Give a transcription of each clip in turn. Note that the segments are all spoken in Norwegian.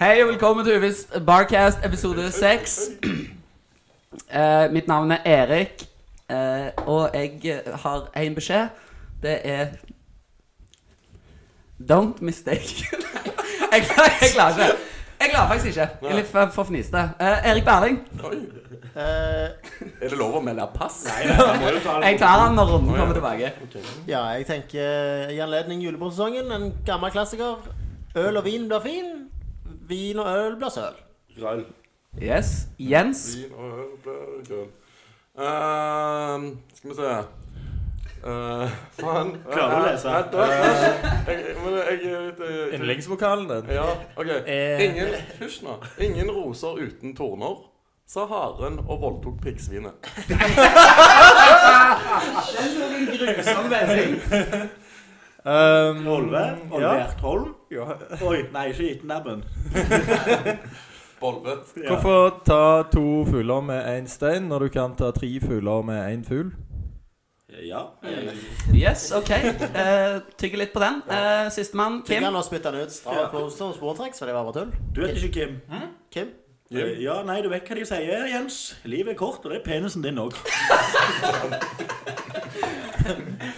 Hei og velkommen til Uvisst Barcast episode 6 Mitt navn er Erik eh, Og jeg eh, har en beskjed Det er Don't mistake Nei, jeg, klarer, jeg klarer ikke Jeg klarer faktisk ikke Jeg er litt for, for fniste Eh, Erik Berling Er det lov å melde pass? Nei, Jeg tar han når runden kommer tilbake Ja, jeg tenker eh, i anledning julebordsesongen, en gammel klassiker. Øl og vin blir fin, vin og øl blir søl. Rall. Yes, Jens Vin og øl blir grønn. Ehm, skal vi se Eh, Faen. Eh, Klarer du å lese? Vent, vent, vent. Jeg, men jeg er litt eh, Yndlingsvokalen din. Ja, OK. Eh. Ingen, hysj nå. Ingen roser uten torner, sa haren og voldtok piggsvinet. Ehm, Olve? Olvert Holm? Ja. Oi, nei, ikke Gittenabben. Bolvet. Ja. Hvorfor ta to fugler med én stein når du kan ta tre fugler med én fugl? Ja. Yes, ok uh, Tygge litt på den uh, Sistemann, Kim? Kim Nå spytter han ut Ja. strak pose og sportrekk, så det var bare tull. Du vet ikke, Kim. Kim? Jim. Ja, nei, du vet hva de sier, Jens. Livet er kort, og det er penisen din òg.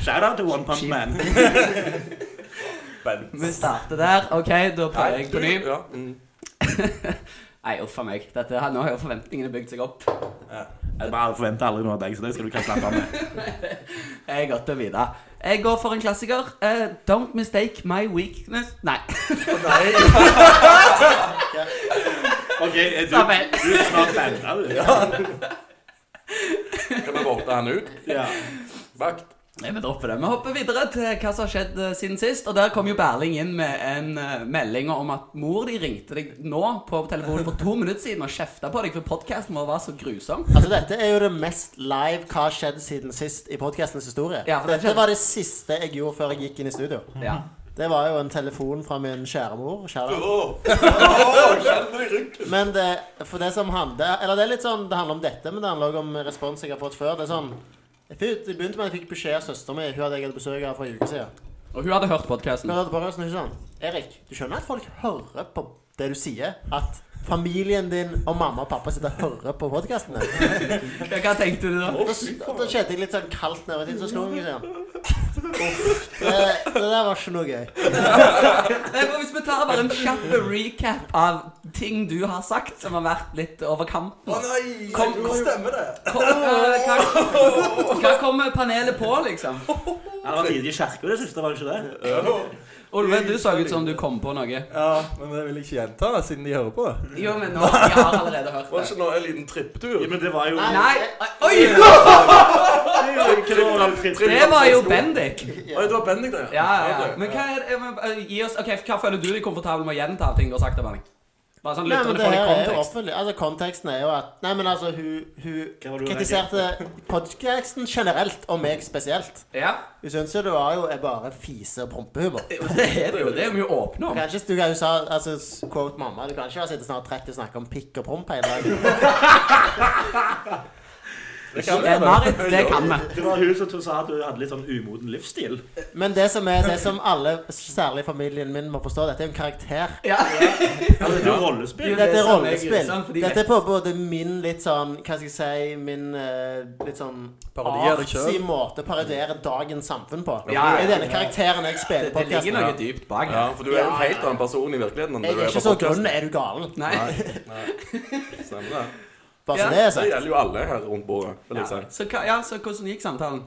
Shout out to One Punch Man. Vi starter der Ok, da prøver jeg på ny Ja. Mm. Nei, uff a meg. Dette, her- nå har jo forventningene bygd seg opp. Jeg bare forventer aldri noe av deg, så det skal du kan slappe av med. Jeg er godt å vite. Jeg går for en klassiker. Eh, don't mistake my weakness Nei. Ok, er du, Ta feil. du er snart banda, du. Ja. Kan vi vote han ut? ja. Vakt. Nei, Vi dropper det. Vi hopper videre til hva som har skjedd eh, siden sist. Og Der kom jo Berling inn med en eh, melding om at mor di ringte deg nå på telefonen for to minutter siden og kjefta på deg for podkasten vår var så grusom. Altså, dette er jo det mest live hva har skjedd siden sist i podkastens historie. Ja, for det dette skjedde. var det siste jeg gjorde før jeg gikk inn i studio. Ja. Det var jo en telefon fra min kjære mor. Kjære. Men det, for det som handler Eller det er litt sånn, det handler om dette, men det handler også om respons jeg har fått før. Det er sånn jeg fikk- Det begynte med at jeg fikk beskjed av søsteren min. Hun hadde jeg hatt besøk av for en uke siden. Og hun hadde hørt podkasten. Hun hadde bare sånn, hun sånn Erik, du skjønner at folk hører på det du sier? At familien din og mamma og pappa sitter og hører på podkasten din? Hva tenkte du da? Da, da kjente jeg litt sånn kaldt nedover til, så slo jeg meg sånn. Uff, det, det der var ikke noe gøy. Nei, Eh, for Hvis vi tar bare en kjapp recap av ting du har sagt som har vært litt over kanten Å nei! Kom- Hvor stemmer det? Kom, eh, hva, hva kommer panelet på, liksom? Han var tidlig i kirka det siste, var han ikke det? Olve, du så ut som du kom på noe. Ja, men det vil jeg ikke gjenta, siden de hører på. Jo, men nå, jeg har allerede hørt Var det. ikke nå en liten tripptur? Ja, men det var jo Nei, oi! Det var jo Bendik. Oi, det var Bendik, det. Ja, ja, ja. Ok. Men hva er det, men, eh, gi oss, ok, hva føler du deg komfortabel med å gjenta av ting du har sagt? Benning? Bare sånn Nei, men lytterne det får litt her er jo kontekst. offentlig. Altså, konteksten er jo at Nei, men altså, hun, Hva var hun det du kritiserte podkasten generelt, og meg spesielt. Ja, Hun syntes jo det var jo er bare fise- og prompehuber. det er det jo. Det er vi jo åpne Du om. kan ikke, du kan jo sa, altså, s- quote mamma, du kan ikke ha sittet snart 30 og snakke om pikk og promp hele dagen. Det er Marit, det kan vi. Det var hun som sa at du hadde litt sånn umoden livsstil. Men det som, er, det som alle, særlig familien min, må forstå, dette er jo en karakter. Ja. Hadde du rollespill? Dette Det er som er rollespill. grusomt, fordi- Dette er på både min litt sånn Hva skal jeg si Min eh, litt sånn Parodi av deg artsy selv. måte å parodiere dagens samfunn på. Ja, ja, Det ja. er denne karakteren jeg spiller Det på ligger noe podkasten. dypt bak Ja, her. for du er jo en helt annen person i virkeligheten enn du Jeg er er ikke på så podcasten. grunn, er du galen? Nei. Stemmer det. Bare Ja. så det er Det sagt. gjelder jo alle her rundt bordet, vil Ja. jeg si. Så, hva- ja, så hvordan gikk samtalen?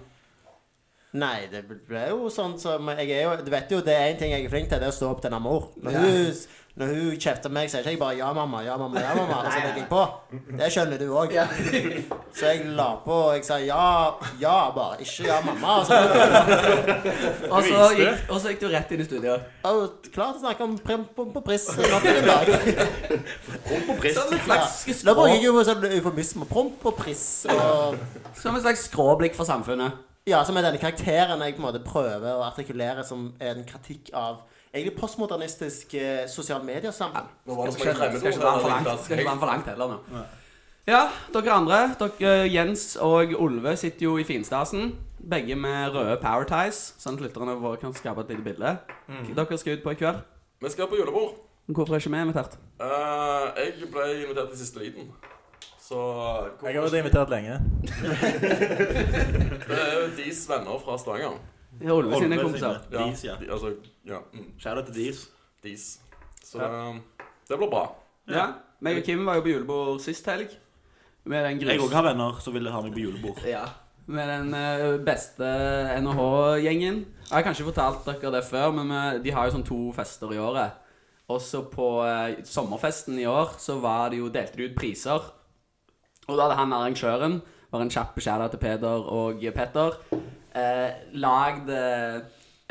Nei, det ble jo sånn som jeg er jo, Du vet jo, det er én ting jeg er flink til, det er å stå opp til en mor. Når Ja. hun, når hun kjefter meg, så er ikke jeg bare 'ja, mamma', 'ja, mamma', 'ja, mamma'. Og så legger jeg på. Det skjønner du òg. Så jeg la på, og jeg sa 'ja, ja, bare', ikke 'ja, mamma'. Og så Og så gikk, og så gikk du rett inn i studio. Jeg er jo klar til å snakke om premp på priss nok en dag. Som et Ja. slags Da skrå, bruker jeg jo sånn eufemisme. Promp og priss. Og, som et slags skråblikk for samfunnet. ja, som er denne karakteren jeg på en måte prøver å artikulere som en kritikk av egentlig postmodernistisk eh, sosial mediesamfunn. Nå var det som Skal ikke en fremmedord skal ikke være for langt, skal ikke være for langt heller nå. Ja, dere andre, dere eh, Jens og Olve sitter jo i finstasen. Begge med røde power Mm. ties, sånn at lytterne våre kan skape et lite bilde. Dere skal ut på i kveld. Vi skal på julebord. Hvorfor er ikke vi invitert? Eh, jeg ble invitert i siste liten. Så hvorfor Jeg har vært ikke? invitert lenge. Det er jo Dis venner fra Stavanger. Det er Olve sine Olve kompiser. sine. Dis, ja. De, altså, ja. Mm, Kjære til Dis. Dis. Så det, det blir bra. Ja. Meg og Kim var jo på julebord sist helg. Med den Jeg grus... òg har venner som ville ha meg på julebord. Ja. Med den eh, beste NHH-gjengen. Jeg har kanskje fortalt dere det før, men vi- de har jo sånn to fester i året. Også på eh, sommerfesten i år så var det jo, delte de ut priser. Og da hadde han arrangøren, var en kjapp beskjed til Peder og Petter, eh, lagd eh,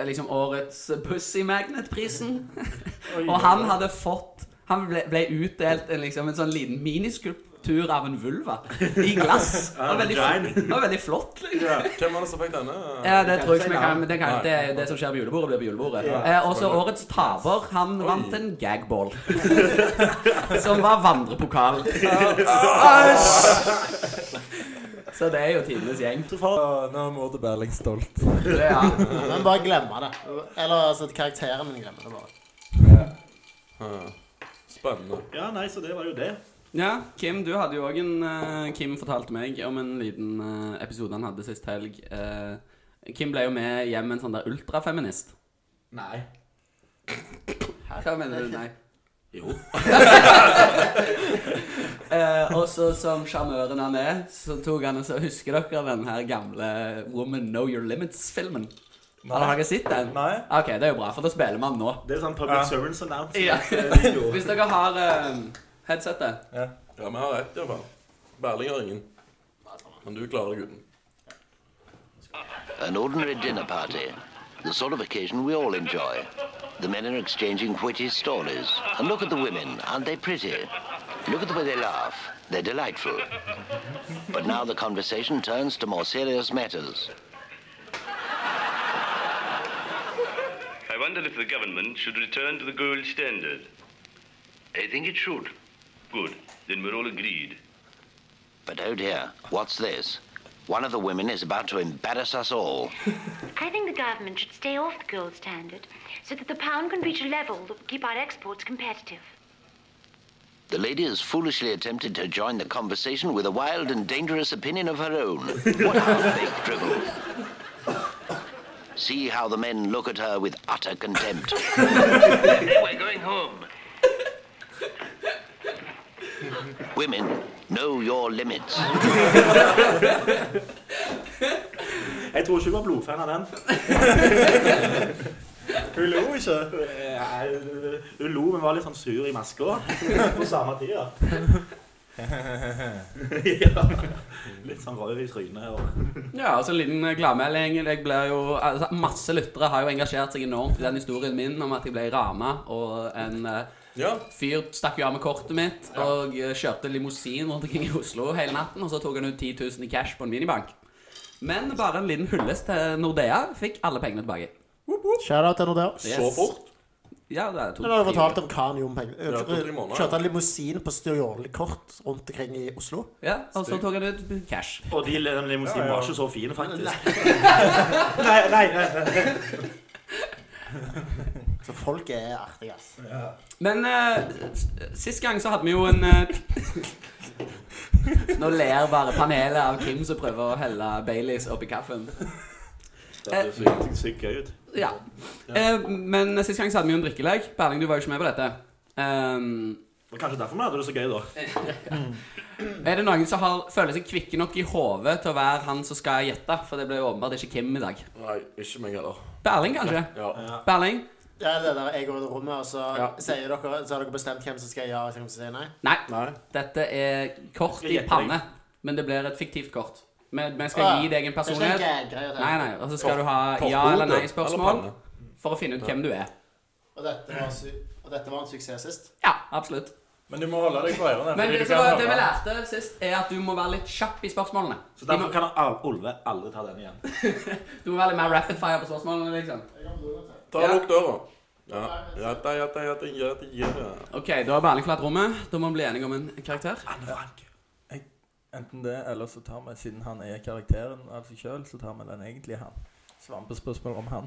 liksom årets Pussy Magnet-prisen. og han hadde fått Han ble, ble utdelt en, liksom, en sånn liten miniskulptur av en vulva i glass. Det var veldig, Vagina. det var veldig flott. Liksom. Hvem var det som fikk denne? Ja, det tror jeg ikke vi kan, men det, kan, Nei. det, det som skjer på julebordet, blir på julebordet. Eh, også årets taper, han vant en gagball. som var vandrepokal. Så det er jo tidenes gjeng. Så far, nå er Maud Berling stolt. Det, ja. Men bare glemme det. Eller altså, karakteren min glemmer det bare. Ja. Eh, Spennende. Ja, nei, så det var jo det. ja, Kim, du hadde jo òg en eh, Kim fortalte meg om en liten eh, episode han hadde sist helg. Eh, Kim ble jo med hjem en sånn der ultrafeminist. Nei. Hva mener du? Nei. Jo. Eh, og så som sjarmøren han er, så tok han og så Husker dere den her gamle Woman Know Your Limits-filmen? Har dere sett den? Nei. Ok, det er jo bra, for da spiller man nå. Det er sånn public Eh, service Ja. announcement-video. Hvis dere har eh, headsetet Ja, vi har ett, iallfall. Berling har ingen. Men du klarer deg uten. An ordinary dinner party, the sort of occasion we all enjoy. The men are exchanging witty stories. And look at the women, aren't they pretty? Look at the way they laugh, they're delightful. But now the conversation turns to more serious matters. I wonder if the government should return to the gold standard. I think it should. Good, then we're all agreed. But oh dear, what's this? One of the women is about to embarrass us all. I think the government should stay off the gold standard so that the pound can reach a level that will keep our exports competitive. The lady has foolishly attempted to join the conversation with a wild and dangerous opinion of her own. What half-baked drivel. See how the men look at her with utter contempt. We're going home. Women, know your limits. Jeg tror ikke hun var blodfan av den. Hun lo ikke. Nei, Hun lo, men var litt sånn sur i maska på samme tid. ja. ja. Litt sånn rød i trynet. Og... Ja, og så en liten gladmelding. Jeg blir jo, altså, masse lyttere har jo engasjert seg enormt i den historien min om at jeg ble rana, og en eh, Ja. fyr stakk jo av med kortet mitt og eh, kjørte limousin rundt omkring i Oslo hele natten, og så tok han ut 10 000 i cash på en minibank. Men bare en liten hyllest til Nordea fikk alle pengene tilbake. Shout-out til Nordea. Så fort? Ja, det er to, Nå har du fortalt om hva han gjorde med Ja, to, tre pengene. måneder, Kjørte han limousin på stjålekort rundt omkring i Oslo? Ja, og så tok han ut cash. og de den limousinen var ikke så fin, faktisk. Nei, nei, nei, nei. Så folk er artige, ass. Men eh, s- sist gang så hadde vi jo en eh, Nå ler bare panelet av Kim som prøver å helle Baileys oppi kaffen. Det hørtes sykt gøy ut. Ja. Eh, men sist gang så hadde vi jo en drikkelek. Berling, du var jo ikke med på dette. Ehm, Det var Kanskje derfor vi hadde det så gøy, da. er det noen som har, føler seg kvikke nok i hodet til å være han som skal gjette? For det ble jo åpenbart ikke Kim i dag. Nei, ikke meg heller. Berling, kanskje? Ja. Eh, Berling? Det er det der jeg går ut i rommet, og så, Ja. sier dere, så har dere bestemt hvem som skal ja, og hvem som sier nei. Nei. Nei. Dette er kort Jeg i gjetter panne, men det blir et fiktivt kort. Vi vi Ah, skal gi deg en Det er ikke en personlighet. gag-greie, det. Nei, nei, og så skal du ha Korthodet ja eller nei-spørsmål eller panne? for å finne ut hvem du er. Og dette var, su og dette var en suksess sist. Ja, absolutt. Men du må holde deg på ørene. Men fordi det, du som kan var, det vi høre. lærte sist, er at du må være litt kjapp i spørsmålene. Så De må, derfor kan al- Olve aldri ta den igjen. du må være litt mer rapid fire på spørsmålene, liksom. Ta lukk døra. Ja. Jata, jata, jata, jata, jata. Ok, da har Berling forlatt rommet. Da må vi bli enige om en karakter. Anne Frank. Enten det, eller så tar vi, siden han er karakteren av seg sjøl, så tar vi den egentlige han. Svampespørsmål om han.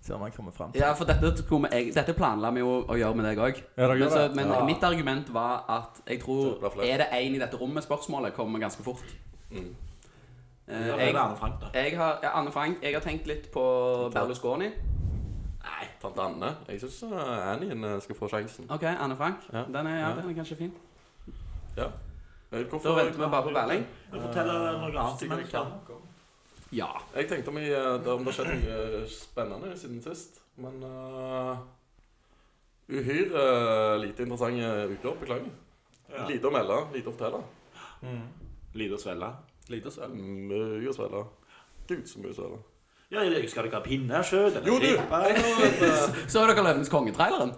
Ser man kommer frem til. Ja, for dette, skulle vi- jeg, dette planla vi jo å gjøre med deg òg. Ja, dere men gjør det. men Ja. mitt argument var at jeg tror Det blir flere. Mm. Er det én i dette rommet spørsmålet kommer ganske fort. Eh, Ja, det er jeg, Arne Frank, da. jeg har, ja, Anne Frank, jeg har tenkt litt på Berlusconi. Nei, tante Anne. Jeg syns Annien eh, skal få sjansen. Ok, Anne Frank. Ja. Den, er, ja, Ja. den er kanskje fin. Ja. Eh, Da Hvorfor venter vi bare på Berling. Du forteller noe annet imens, da. Ja. Jeg tenkte om, jeg, eh, om det har skjedd noe eh, spennende siden sist, men eh, Uhyre eh, lite interessante uker. Beklager. Ja. Lite å melde, lite å fortelle. Lite å svelle. Lite å svelle. Mye å svelle. Gud, så mye å svelle. Ja, jeg skal dere ha pinnekjøtt? eller Jo, du! ribbe? Jeg har et eh, Så dere Løvenes konge-traileren?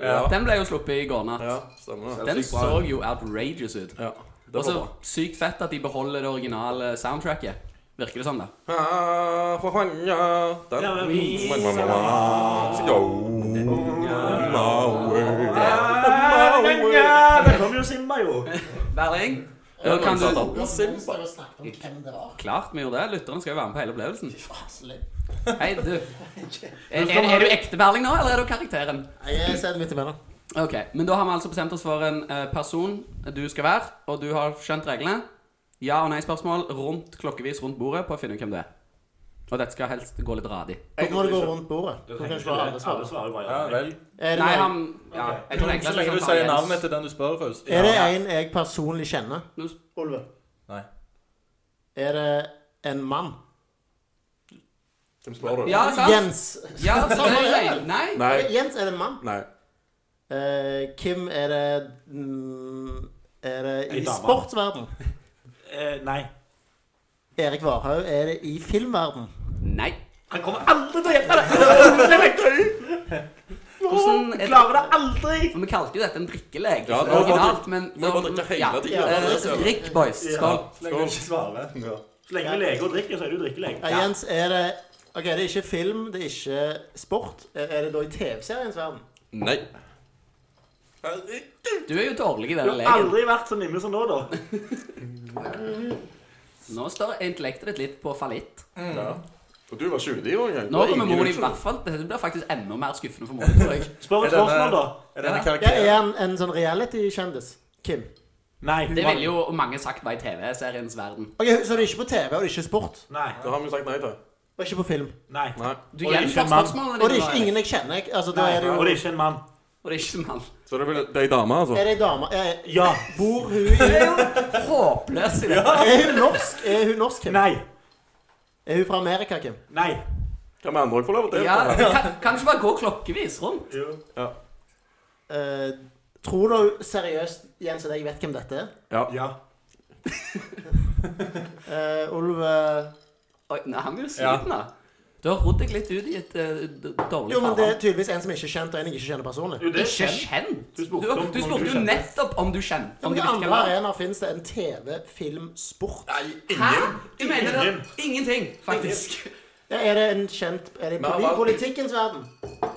Ja, Den ble jo sluppet i går natt. ja stemmer det. Den så jo outrageous ut. Ja, det Og var så bra. sykt fett at de beholder det originale soundtracket. Virker det som, da? Ah, for faen, ja. Den. Ja, men vi- Mamma, mamma. Ja, det kom jo Simba, jo. Berling? Da kan satt du opp. Simba. Vi snakket om hvem det var. Klart vi gjorde det. Lytterne skal jo være med på hele opplevelsen. Farselig. Hei, du. Er, er, er du ekte Berling nå, eller er du karakteren? Nei, Jeg ser det midt imellom. Ok, Men da har vi altså bestemt oss for en eh, person du skal være, og du har skjønt reglene. Ja- og nei-spørsmål rundt klokkevis rundt bordet på å finne ut hvem det er. Og dette skal helst gå litt radig. Hvorfor må du gå rundt bordet? Du kan ikke bare alle Alle svare. svarer bare Ja, ja. vel. Er det Nei, noen- han ja, jeg tror det Så enkleste lenge er du sånn sier Jens. navnet til den du spør først. Er det en jeg personlig kjenner? Olve. Nei. Er det en mann? Hvem spør du? Ja, sant? Jens. Ja, så det er nei. nei. Nei. Jens er det en mann. Nei. Eh, Kim er det mm, Er det i En dame. sportsverden? Eh, nei. Erik Varhaug er det i filmverden? Nei. Han kommer aldri til å gjette det! Det vet du! Hvordan er- Klarer det aldri! For vi kalte jo dette en drikkelek. Ja, Ja, nå må originalt, du- men må du bare drikke hele tiden. eh, Drikk, boys. Skål. Så lenge du ikke svarer. Så lenge du leker og drikker, så er du drikkelek. Ja, Jens er det Ok, det er ikke film, det er ikke sport. Er er det da i TV-seriens verden? Nei. Herregud. Du er jo dårlig i Du denne har leken. aldri vært så nimme som nå, da. Nå står intellektet ditt litt på fallitt. Ja. Og du var 20 år engang. Mm. Nå kommer moren i hvert fall Dette blir faktisk enda mer skuffende for moren, tror jeg. Spør et Er denne- spørsmål, da. Er det en Ja, er karakter? han en sånn reality-kjendis? Kim. Nei. Det ville jo mange sagt var i TV-seriens verden. Ok, Så det er ikke på TV, og det er ikke sport. Nei. Det har vi jo sagt nei til. Og ikke på film. Nei. Nei. Du Og det er ikke gjentar en mann. spørsmålene Og det er nå, ikke ingen jeg kjenner. jeg- Altså, da Nei. er det Og jo det er ikke en mann. Erik. Og det er ikke mann. Så det er vel det er ei dame, altså? Er det ei dame? Er, Ja. bor hun i Håpløs i dette. Er hun norsk? Er hun norsk, Kim? Nei. Er hun fra Amerika, Kim? Nei. Kan vi andre òg få lov til å Ja, delta? her? kan, kan du ikke bare gå klokkevis rundt? Eh, tror du seriøst, Jens, at jeg vet hvem dette er? Ja. Ja. Uh, Ulve Oi, nei, han blir jo sliten, da. Du har rodd deg litt ut i et eh, d- dårlig Jo, men det er farvann. tydeligvis en som ikke er kjent, og en jeg ikke kjenner personlig. Jo, det er Ikke kjent. kjent. Du, Du spurte om du noen spurte du jo kjente. nettopp om du kjente På om du hvilke visste hvem andre det var. arenaer finnes det en TV, film, sport? Hæ? Du mener det? Ingen. Ingenting, faktisk. Ja, er det en kjent Er det i Men han poli var- politikkens verden?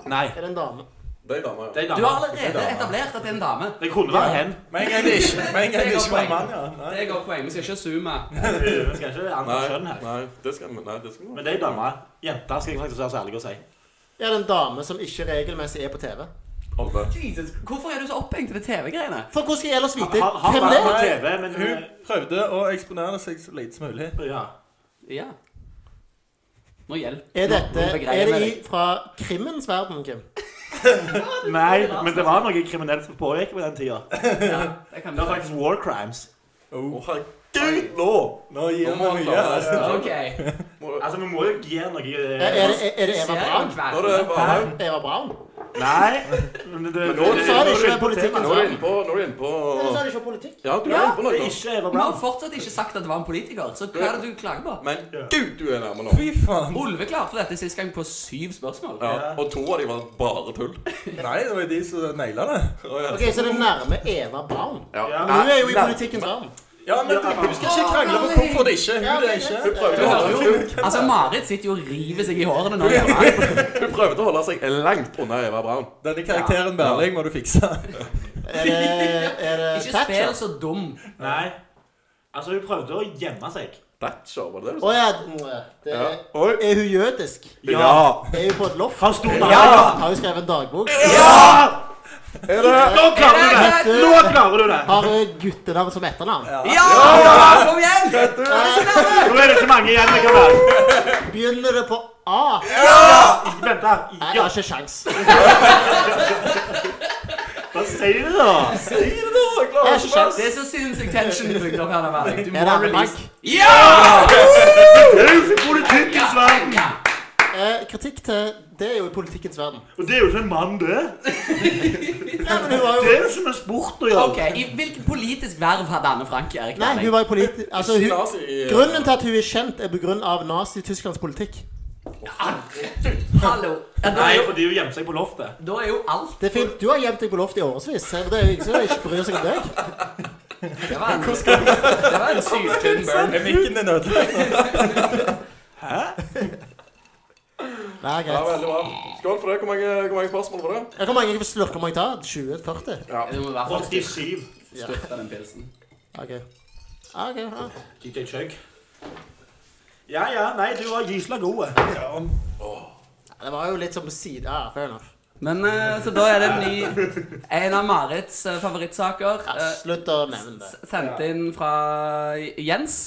Nei. Er det en dame? Det er ei dame, ja. Det er en Du har dame. allerede etablert at det er en dame. Det kunne være hen. Med en gang det ikke med en gang det ikke var en mann, ja. Nei. Det er godt poeng. Vi skal ikke zoome. Vi skal ikke andre kjønn Nei, her. nei, det skal vi Nei, det skal vi Men det er en dame. Jenter skal jeg faktisk være så ærlig å si. Er det en dame som ikke regelmessig er på TV? holde. Jesus, Hvorfor er du så opphengt i det TV-greiene? For hvordan skal jeg ellers vite Har, har hvem det vært på er? TV, men Hun prøvde å eksponere seg så lite som mulig. Ja. Ja. Nå hjelp. Er Nå- dette nå begreier Er jeg det meg. i fra krimmens verden, Kim? Nei, men det var noe kriminelt som pågikk på den tida. Ja, det kan Det du si. var faktisk war crimes. Oh. Å, Gud, herregud! nå! Nå gir vi mye. altså. Ok. Altså, vi må jo ikke gjøre noe eh, Er, er, det, er det Eva Ser Braun? jo hver- Nå er det bare her. Eva Braun? Nei. Men det, Men nå- Du sa det det, ikke var politikkens Nå er du verden. inne på Nå er du inne på Du sa det ikke var politikk. Ja, du er inne på det noe. er ikke Eva Vi har Braun. fortsatt ikke sagt at det var en politiker, så hva er det du klager på? Men gud, du er nærme nå. Fy faen. Olve klarte dette sist gang på syv spørsmål. Ja, Og to av de var bare tull. Nei, det var jo de som naila det. Ok, Så det er nærme Eva Braun. Ja. Hun er jo i politikkens verden. Ja, men du, du skal ikke krangle på hvorfor det ikke er Ja, hun det er ok, ikke. greit. Prøvde å holde- Altså, Marit sitter jo og river seg i hårene nå. Eva. Hun prøvde å holde seg langt unna Eva Braun. Denne karakteren Berling må du fikse. Er det, er det Ikke spill Eh, Thatcher? så dum. Nei. Altså, hun prøvde å gjemme seg. Thatcher, var det det du Å sa? ja, det- det er, Oi. er hun jødisk? Ja! Er hun på et loft? Han sto der. Har hun skrevet en dagbok? Ah! Er det Nå klarer du Er det! det- Nå klarer du det! Har eh, hun guttenavn som etternavn? Ja! ja! Kom igjen! Nå er det ikke mange igjen. det kan være. Begynner det på A? Ikke Vent her. Nei, jeg Ja, har ikke sjans. hva sier du da? Jeg har ikke sjans. Det er så sinnssykt tension bygd opp her. Neværlig. Du Er det må Anne Blank? release. Ja! Det er jo ikke politikkens verden. Eh, kritikk til Det er jo i politikkens verden. Og det er jo ikke en mann, det. Nei, men hun var Det jo er jo ikke med sport å gjøre. Ok, i Hvilket politisk verv hadde Anne Frank? Erik Nei, hun Nevling? var jo politi... Altså, Ikke hun, nazi i- grunnen til at hun er kjent, er på grunn av Nazi-Tysklands politikk. Hallo. Ja, da, Nei, er jo, fordi hun gjemte seg på loftet. da er jo alt Det er fint. Du har gjemt deg på loftet i årevis. så Det er jo ingen som ikke bryr seg om deg. Det var en, det var en syltynn burn. Er mikken din ødelagt? Nei, Ja, greit. veldig bra. Skål for det. Hvor mange, hvor mange spørsmål var det? Hvor mange slurker må jeg ta? 20-40? Du må i hvert fall 87. styrte den pilsen. OK. Ja, ok, ja. DJ Chug. Ja, ja, nei, du var gysla god. eh. Det var jo litt sånn på siden Ja, fair enough. Men eh, så da er det en ny En av Marits eh, favorittsaker. Ja, eh, slutt å nevne det. s- sendt inn fra Jens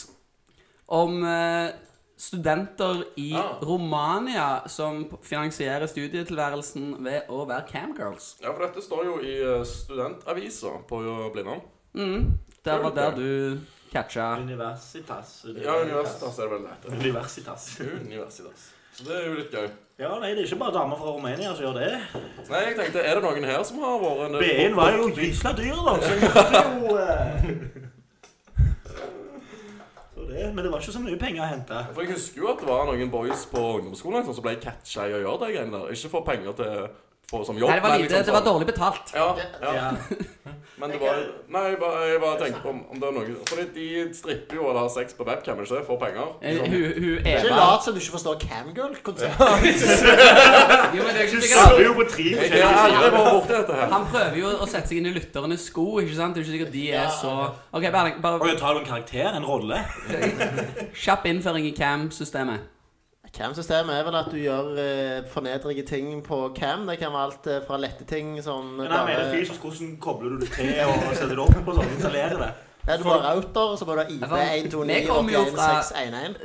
om eh, studenter i Romania som p- finansierer studietilværelsen ved å være camgirls. Ja, for dette står jo i eh, studentavisa på eh, Blindern. Det var der du catcha Universitas. Ja, Universitas er det vel det heter. Universitas. Universitas. Så det er jo litt gøy. Ja, nei, det er ikke bare damer fra Romania som gjør det. Nei, jeg tenkte, er det noen her som har vært en BI-en var jo gysla dyr, da, så jeg måtte jo eh, Så det, Men det var ikke så mye penger å hente. For jeg husker jo at det var noen boys på ungdomsskolen liksom, som ble catcha i å gjøre de greiene der. Ikke for penger til for, som jobb, Nei, det var men lite. liksom Det var sånn- dårlig betalt. Ja, ja. Men det var Nei, jeg bare, jeg bare tenkte på om, om det er noe Fordi de stripper jo eller har sex på webcam, ikke det? For penger. Eh, Hun, hun Ikke Eva lat som du ikke forstår camgirl-konseptet. jo, men det er jo Du ikke sikkert sabber jo på tre Jeg har forskjellige aldri vært borti dette her. Han prøver jo å sette seg inn i lytternes sko, ikke sant? Det er jo ikke sikkert de er så OK, Berling, Og bare jeg tar jo en karakter, en rolle. kjapp innføring i cam-systemet. Cam-systemet er vel at du gjør eh, fornedrige ting på cam. Det kan være alt eh, fra lette ting som Men jeg mener fysisk, hvordan kobler du det til og setter det opp på sånn, installerer det? Ja, du må ha router, så må du ha IP Vi kommer jo fra- 129-81611.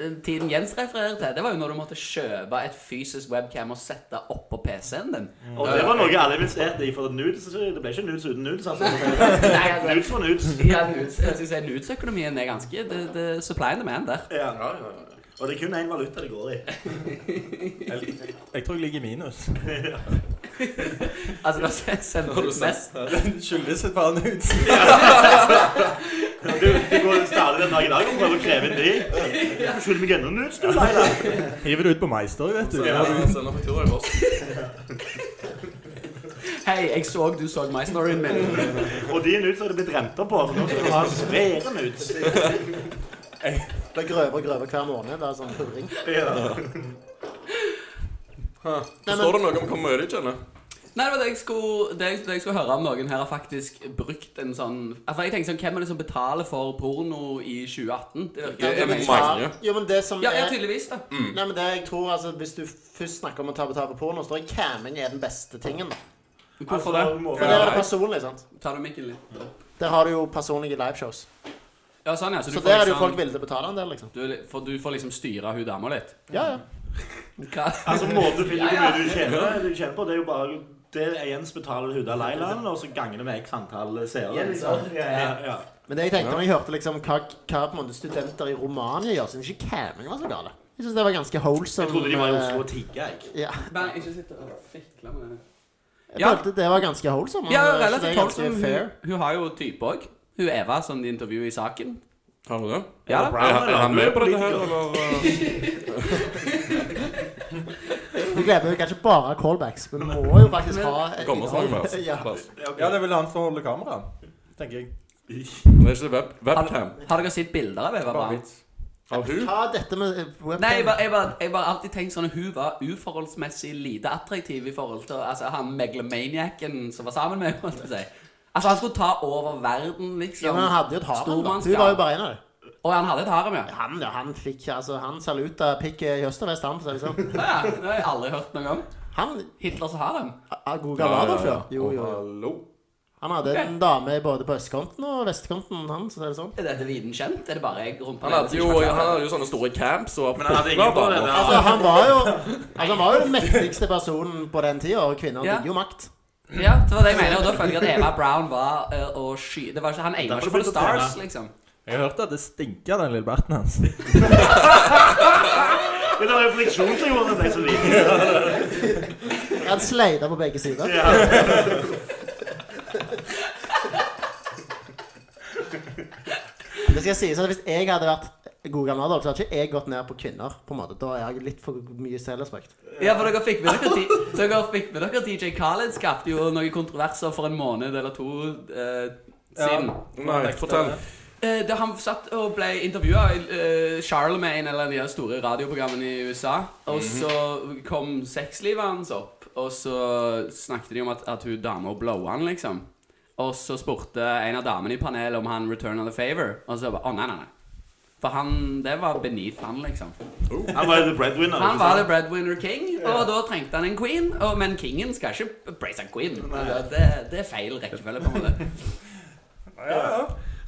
Eh, Tiden Jens refererer til, det var jo når du måtte kjøpe et fysisk webcam og sette oppå PC-en din. Og det var noe alle investerte i, for nudes, det ble ikke nudes uten nudes. altså. Nei, altså, Nudes for nudes. ja, nudes- jeg synes jeg Nudes-økonomien er ganske det, det er Supply and demand der. Ja. Og det er kun én valuta det går i. Jeg tror jeg ligger i minus. Altså, da sender du mest Den skyldes et par nudes. Du, du går stadig den dag i dag og prøver å kreve inn de. Du skylder meg ennå nudes, du, Leila. Hiver det ut på Meister, vet du. Ja, sender faktura i post. Hei, jeg så du så my storyen min. Mm. Og de nudes har det blitt renta på, for nå skal du ha svære nudes. Blir grøvere og grøvere hver måned. Det er sånn purring. Står det noe om hvor mye de tjener? Nei, det var det jeg skulle, det jeg, det jeg skulle høre om noen her har faktisk brukt en sånn Altså, jeg tenker sånn, Hvem er det som betaler for porno i 2018? Det Det virker er amazing. mange. Jo, men det som Ja, ja, er tydeligvis, da. Nei, men det jeg tror, altså, Hvis du først snakker om å ta betalt for porno, så tror jeg camming er den beste tingen. Hvorfor Altså, det? For der er det personlig, sant? Tar du mikken litt? opp? Der har du jo personlige liveshows. Ja, sånn, ja. Så, du Så der får er det jo folk liksom, villige til å betale en del, liksom. du, er litt- for, du får liksom styre hun dama litt? Ja, ja. Hva? Altså, måten du finner hvor mye du tjener, du tjener på, det er jo bare det er Jens betaler Huda Leiland, og så ganger det med x antall seere. Liksom. Ja, ja. Men det jeg tenkte når jeg hørte liksom hva, hva på en måte studenter i Romania gjør, syns ikke camming var så gale. Jeg syns det var ganske wholesome. eh, Jeg trodde de var i Oslo og tigga, jeg. Ja. Bernt, ikke sitt og fikle med det. Jeg Ja. følte det var ganske wholesome. Ja, og jeg synes relativt det er ganske wholesome. Hun, hun har jo type òg. Hun Eva som de intervjuer i saken. Har du det? Ja da. Er, er han med på dette her, eller? eh? Du glemmer jo kanskje bare callbacks, men vi må jo faktisk ha Kommer snart med oss. Ja. Plass. Ja, det er vel han som holder kameraet, tenker jeg. Det er ikke web Har, webcam. har dere sett bilder av Eva Brandt? Av hun? Ta dette med eh, webcam. Nei, jeg bare, jeg, bare, jeg bare alltid tenkt sånn at hun var uforholdsmessig lite attraktiv i forhold til altså, han meglemaniacen som var sammen med henne. holdt jeg på å si. Altså, han skulle ta over verden, ja, liksom. men han hadde jo et harem, da. Stormannsgal. Hun var jo bare en av dem. Og han hadde et harem, ja. Han, ja, han fikk altså, han saluta pikket i øst og vest, han. for å si det Å sånn. ja. Det har jeg aldri hørt noe om. Han Hitlers harem? er god gammel Adolf, ja. Jo, jo. Hallo. Han hadde en dame både på østkanten og vestkanten, han. så det er sånn. Er dette viden kjent? Er det bare jeg rumpa Han hadde jo, han hadde jo sånne store camps og Men han hadde ingen på det der. Altså, han var jo altså, han var jo den mektigste personen på den tida, og kvinner Ja. digger jo makt. Ja, det var det jeg mener. Og da føler jeg at Eva Brown var eh, å sky... Det var ikke, han aimet Derfor ikke for the flyttet Eva. stars, liksom. Jeg har hørt at det stinker den lille berten hans. Det var jo friksjon til Jonas, jeg som liker det. Han sleida på begge sider. Ja. Det skal sies at Hvis jeg hadde vært god gammel Adolf, så hadde ikke jeg gått ned på kvinner. på en måte. Da er jeg litt for mye selvrespekt. Ja, for dere fikk med dere, D- dere, fikk med dere DJ Khaled skapte jo noen kontroverser for en måned eller to eh, siden. Nei, fortell. Eh, da han satt og ble intervjua uh, Charlemagne, eller de her store radioprogrammene i USA, og så kom sexlivet hans opp, og så snakket de om at, at hun dama blowa han, liksom. Og så spurte en av damene i panelet om han return of the favor, og så bare Å, nei, nei, nei. For han Det var beneath han, liksom. Han var jo the breadwinner. Han ikke var sant? the breadwinner king, og da trengte han en queen. Og, men kingen skal ikke praise en queen. Det, det er feil rekkefølge, på en måte.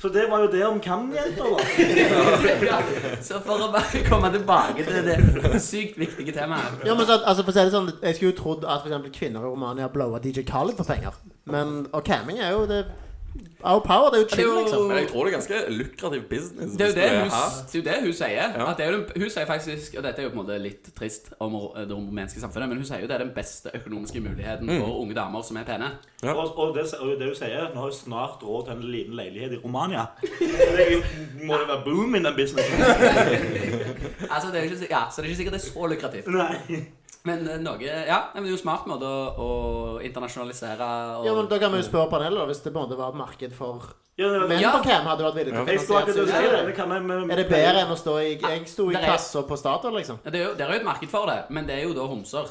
Så det var jo det om kan-jenter, da. ja, så for å bare komme tilbake til det sykt viktige temaet Ja, men så, altså, for å si det sånn, Jeg skulle jo trodd at for eksempel kvinner i Romania blowa DJ Khaled for penger. Men og camming er jo det Our power, det er jo Det er chill, jo liksom. Men jeg tror det er ganske lukrativ business. det er jo hvis det hun, det er jo det her. hun sier. At det er jo den, hun sier faktisk Og dette er jo på en måte litt trist om ro- det rumenske samfunnet, men hun sier jo det er den beste økonomiske muligheten for unge damer som er pene. Ja. Og, og, det, og det hun sier, nå har hun snart råd til en liten leilighet i Romania. Det må jo være boom in den businessen. Altså, det er jo ikke, sik- ja, så det er ikke sikkert det er så lukrativt. Nei. Men eh, noe Ja, men det er jo en smart måte å, å internasjonalisere og Ja, men Da kan vi jo spørre panelet, da, hvis det på en måte var et marked for Ja, det var- menn Ja. på cam. hadde vært villig til å Jeg skulle akkurat til å si finansiere det. det kan jeg, men, Er det bedre enn å stå i Jeg sto i Der er- kassa på Statoil, liksom. Ja, det, er jo, det er jo et marked for det, men det er jo da homser.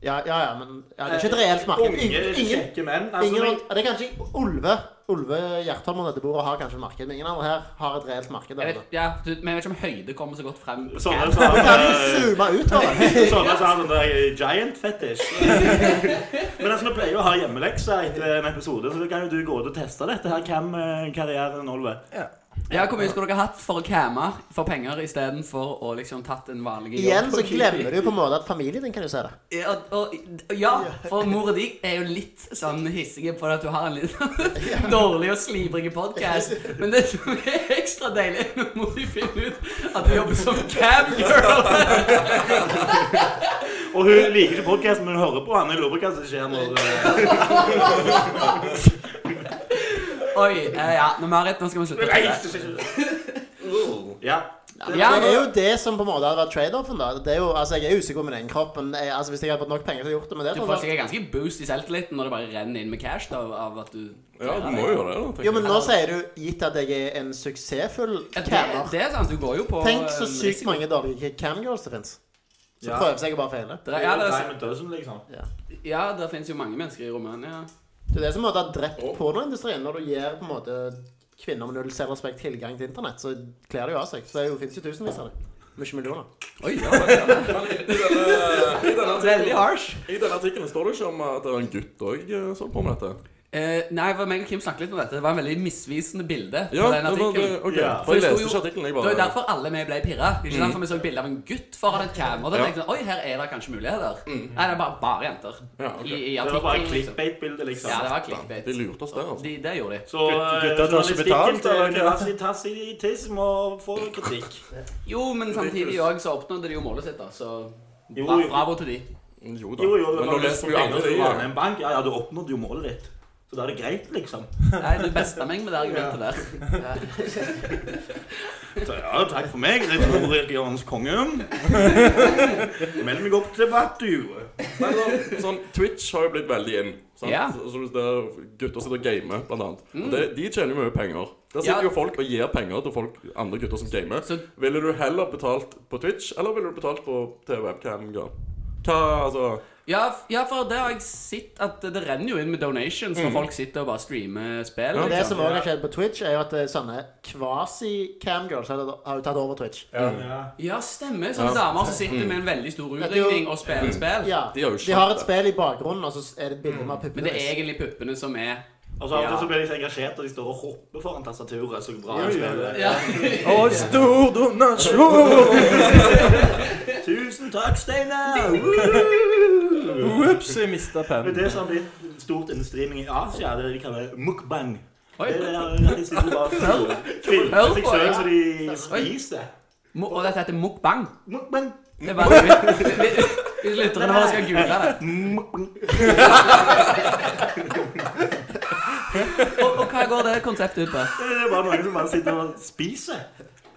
Ja, ja, ja, men ja, Det er ikke Eh, et reelt marked. Unge, Ingen, ingen, kjekke menn. Altså, ingen, men, andre- det er kanskje Olve Olve Gjertholm og dette bordet har kanskje et marked, men ingen andre her har et reelt marked. Jeg der vet, ute. ja, du- men jeg vet ikke om høyde kommer så godt frem. sånne som eh, har Kan du zoome ut, da? sånne som har sånn der eh, giant fetish. Men altså, vi pleier jo å ha hjemmelekser etter en episode, så da kan jo du gå ut og teste dette her. Hvem eh, karrieren Olve? Ja, Hvor mye skulle dere hatt for å camme for penger istedenfor å liksom tatt en vanlig jobb? Igjen så glemmer du på en måte at familien din kan jo se det. Ja, og- og, ja for mora di er jo litt sånn hissige på at du har en litt dårlig og slibrig podkast. Men det som er ekstra deilig, er når mor di finner ut at du jobber som camgirl. Og hun liker ikke podkasten, men hun hører på han. Jeg lurer på hva som skjer når eh, Oi. Eh, ja, nå, Marit, nå skal vi slutte. Ja. Ja, det er nå- jo det som på en måte hadde vært trade-offen. da Det er jo, altså Jeg er usikker på min egen kropp, men jeg, altså, hvis jeg hadde fått nok penger til å gjort det med det Du sånn tror får jeg- sikkert ganske boost i selvtilliten når det bare renner inn med cash da, av at du Ja, du må jo gjøre det. da, tenker Jo, men jeg. nå sier du gitt at jeg er en suksessfull Ja, det, cammer. det er sant. Du går jo på Tenk så en sykt risiko. mange dårlige camgirls det fins. Som Ja. prøver seg og bare feiler. Det er- Ja, det, er- Diamond Dozen, liksom. ja, det finnes jo mange mennesker i Romania. Det er det som måtte ha drept pornoindustrien. Når du gir på en måte kvinner med null selvrespekt tilgang til internett, så kler det jo av seg. Så det er jo- finnes jo tusenvis av det. Mye millioner. Oi, ja, I denne- i denne Veldig artikkelen- harsh. I denne artikkelen står det ikke om at det var en gutt òg som på med dette. Eh, nei, for meg og Kim snakket litt om dette. Det var en veldig misvisende bilde. på Ja, den det var det, artikkelen. ok, Ja. for jeg det sto leste ikke artikkelen, jeg Det var jo bare derfor alle vi ble pirra. Det er Ikke derfor vi så bilde av en gutt foran et kamera. Da Mm. Ja. Mm. tenkte vi oi, her er det kanskje muligheter. Nei, det er bare, bare jenter. Ja, ok. I, i Det var bare et artikkelen. liksom. clickbait-bilde, liksom. Ja, det var De clickbait. lurte oss der, altså. De, det gjorde de. Så eh, gutta tar ikke betalt, journalistikken til eller hva? Universitas i Tiss må få kritikk. Jo, men samtidig òg så oppnådde de jo målet sitt, da. Så Jo, bra, jo. bravo til de. Jo da. Jo, jo, men nå leser vi jo andre ting. ting. En bank, ja, ja, du oppnådde jo målet ditt. Så da er det greit, liksom. Nei, du besta meg med det argumentet der. Så ja, takk for meg. Det tror jeg er hans konge. Meld meg opp til debatt, du. Nei, sånn, sånn, Twitch har jo blitt veldig inn. Sant? Ja. Mm. Så, så der gutter sitter og gamer, blant annet. Og det, de tjener jo mye penger. Ja. Der sitter jo folk og gir penger til folk, andre gutter som gamer. Så- Ville du heller betalt på Twitch, eller ville du betalt på TV-webcam? Ja. Ta, altså Ja, f- ja, for det har jeg sett at det renner jo inn med donations når folk sitter og bare streamer spill. Men Mm. det liksom. som også har skjedd på Twitch, er jo at eh, sånne kvasi-camgirls har har jo tatt over Twitch. Ja, stemmer. Sånne damer som sitter med en veldig stor Dette er jo- Mm. utringning og spiller spill. Ja, De har jo skjønt de har et det. Mm. spill i bakgrunnen, og så er det et bilde med puppene Men det er deres. egentlig puppene som er Og så Altså, av og Ja. til så blir de så engasjert, og de står og hopper foran tastaturet. Så bra Ja, de ja, spiller. ja. Og stor donasjon! Tusen takk, Steinar! Woo! Ops, jeg mista Men pennen. det som har blitt stort innen streaming i Asia, det er det de kaller mukbang. Oi. Det er at de sitter bare og filmer Hør seg på, selv ja. så de spiser. Mo- Og dette heter mukbang. Mukbang. Det er bare Hvis lytterne våre skal google det. Mukbang. Og, og hva går det konseptet ut på? Det er bare noen som bare sitter og spiser.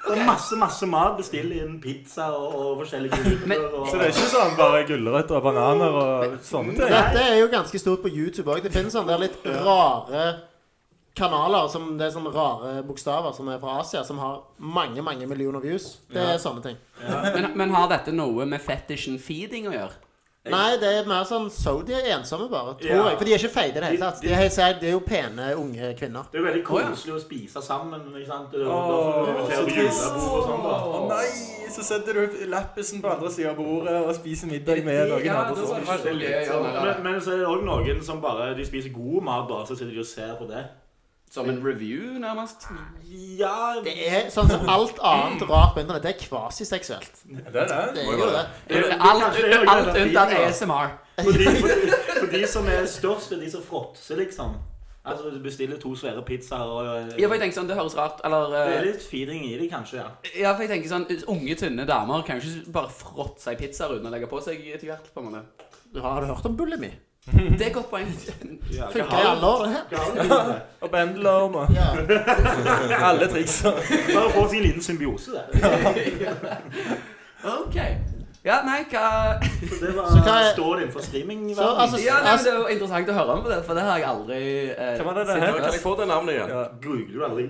Det er masse, masse mat. Bestiller inn pizza og, og forskjellige Men- gulrøtter. Så det er og- ikke sånn bare gulrøtter og bananer og sånne ting? Dette er jo ganske stort på YouTube òg. Det finnes sånne der litt rare kanaler som det er sånne rare bokstaver som er fra Asia, som har mange mange millioner views. Det er sånne ting. Men, men har dette noe med fetishen feeding å gjøre? Nei, det er mer sånn so de er ensomme, bare. Tror Ja. jeg. For de er ikke feite i det hele tatt. De er, De- helt seriøst, de er jo pene, unge kvinner. Det er jo veldig Å, ja. koselig å spise sammen. ikke sant? Da får du invitere på julebord og sånn. da. Å nei, så setter du lappisen på andre siden av bordet og spiser middag med noen Ja, andre. det var som- ikke så gøy å gjøre med det. Men, men så er det òg noen som bare de spiser god mat, bare, så sitter de og ser på det. sånn- Som en review, nærmest? Ja Det er sånn som alt annet rart på internett. Det er kvasiseksuelt. Det er Det er jo det. Alt, alt unntatt ASMR. For de, for, for de som er størst, er de som fråtser, liksom. Altså du bestiller to svære pizzaer og eh, Ja, for jeg tenker sånn, Det høres rart Eller Det eh, er litt feeding i det, kanskje. ja. Ja, for jeg tenker sånn Unge, tynne damer kan jo ikke bare frotte seg pizzaer uten å legge på seg etter hvert. på en måte Du har du hørt om bulimi? Det er et godt poeng. ja Funker i alle år, det her. år. Og bendelormer. Ja. Alle trikser. Bare få sin liten symbiose, det. OK. Ja, nei, hva Så Så det var, hva er- står det innenfor streaming. Så altså, Ja, nei, men altså Det er jo interessant å høre om, på det, for det har jeg aldri eh, Hva var det det sett het? før. Kan jeg få det navnet igjen? Ja. Googler du aldri?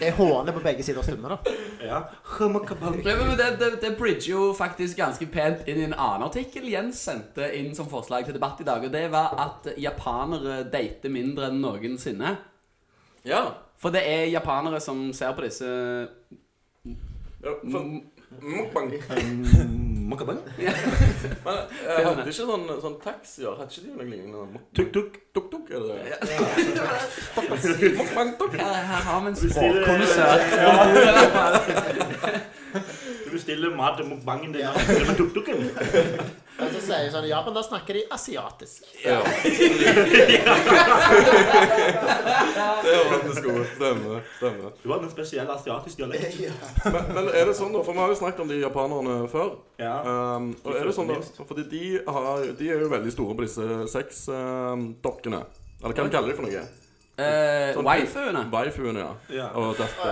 Det er hårene på begge sider av stummen, da. Ja. Humakabang. Nei, men det, det, det bridger jo faktisk ganske pent inn i en annen artikkel Jens sendte inn som forslag til debatt i dag, og det var at japanere dater mindre enn noensinne. Ja. For det er japanere som ser på disse ja for, Mm. mukbang. Makabang. Men eh, hadde ikke sånn, sånn taxier Hadde ikke de noe lignende? Tuk-tuk. Tuk-tuk, er det det? Mukbang, tuk. Her, her har vi en bestiller- språkkommissær. Du bestiller mat til mukbangen din. eller med tuk-tuken. Men så sier jeg sånn, I Japan der snakker de asiatisk. Ja. Det var det skulle stemme. stemme. Du har en spesiell asiatisk dialekt. Men, men er det sånn, da? For vi har jo snakket om de japanerne før. Ja. Um, og er det sånn da, fordi de, har, de er jo veldig store på disse sexdokkene. Eller hva de kaller de for noe? Eh, Waifuene. Waifuene, ja. Ja. Og dette.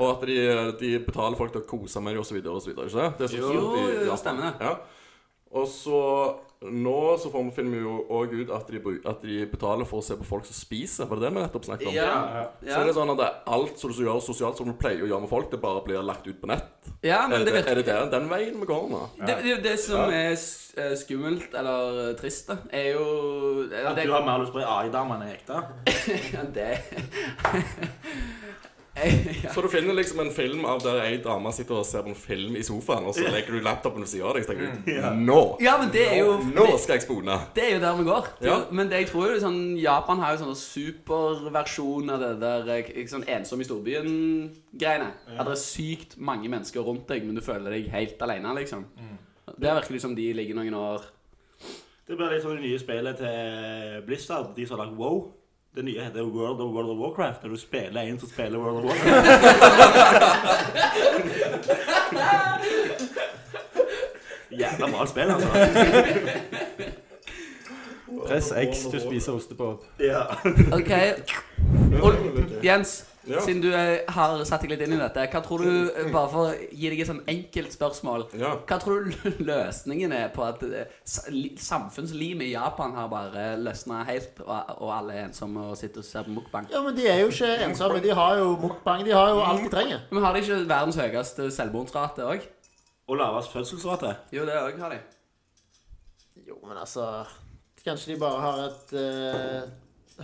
Og at de, de betaler folk til å kose med dem osv. Ikke det? det er så Jo, jo, stort i jo, Japan. stemmer det. Ja. Og så nå så får vi finner vi jo òg ut at de, bru- at de betaler for å se på folk som spiser. Var det det vi nettopp snakket om? Ja, Så er ja. det sånn at det er alt som du gjør sosialt som du pleier å gjøre med folk, det bare blir lagt ut på nett. ja, men Er det det, virker er det der, den veien vi går nå? det, det, det som er s- eh, skummelt, eller eh, trist, da, er jo eller At det- du har mer lyst på ei AI-dame enn ei ekte. Ja, det Jeg- ja. Så du finner liksom en film av der ei dame sitter og ser på en film i sofaen, og så legger du laptopen ved siden av deg, så tenker du Nå! ja, men det er jo Nå skal jeg spone! Det er jo der vi går. Det er jo- Ja. Men det jeg tror jo sånn, Japan har jo sånn superversjon av det der eh, k- sånn ensom i storbyen-greiene. At det er sykt mange mennesker rundt deg, men du føler deg helt alene, liksom. Det virker liksom de ligger noen år Det blir litt som det nye spillet til Blizzard, de som har lagd WoW. Det nye heter World of World of Warcraft, der du spiller en som spiller World of Warcraft. Jævla bra spill, altså. Press X til å spise ostepop. Ja. OK. Og Jens, Ja. siden du eh, har satt deg litt inn i dette, hva tror du eh, Bare for å gi deg et sånn enkelt spørsmål. Ja. Hva tror du løsningen er på at eh, s- li- samfunnslimet i Japan har bare løsna helt, og, og alle er ensomme og sitter og ser på mukbang? Ja, men De er jo ikke ensomme. De har jo mukbang. De har jo alt de trenger. Men har de ikke verdens høyeste selvmordsrate òg? og lavest fødselsrate. Jo, det òg har de. Jo, men altså Kanskje de bare har et eh,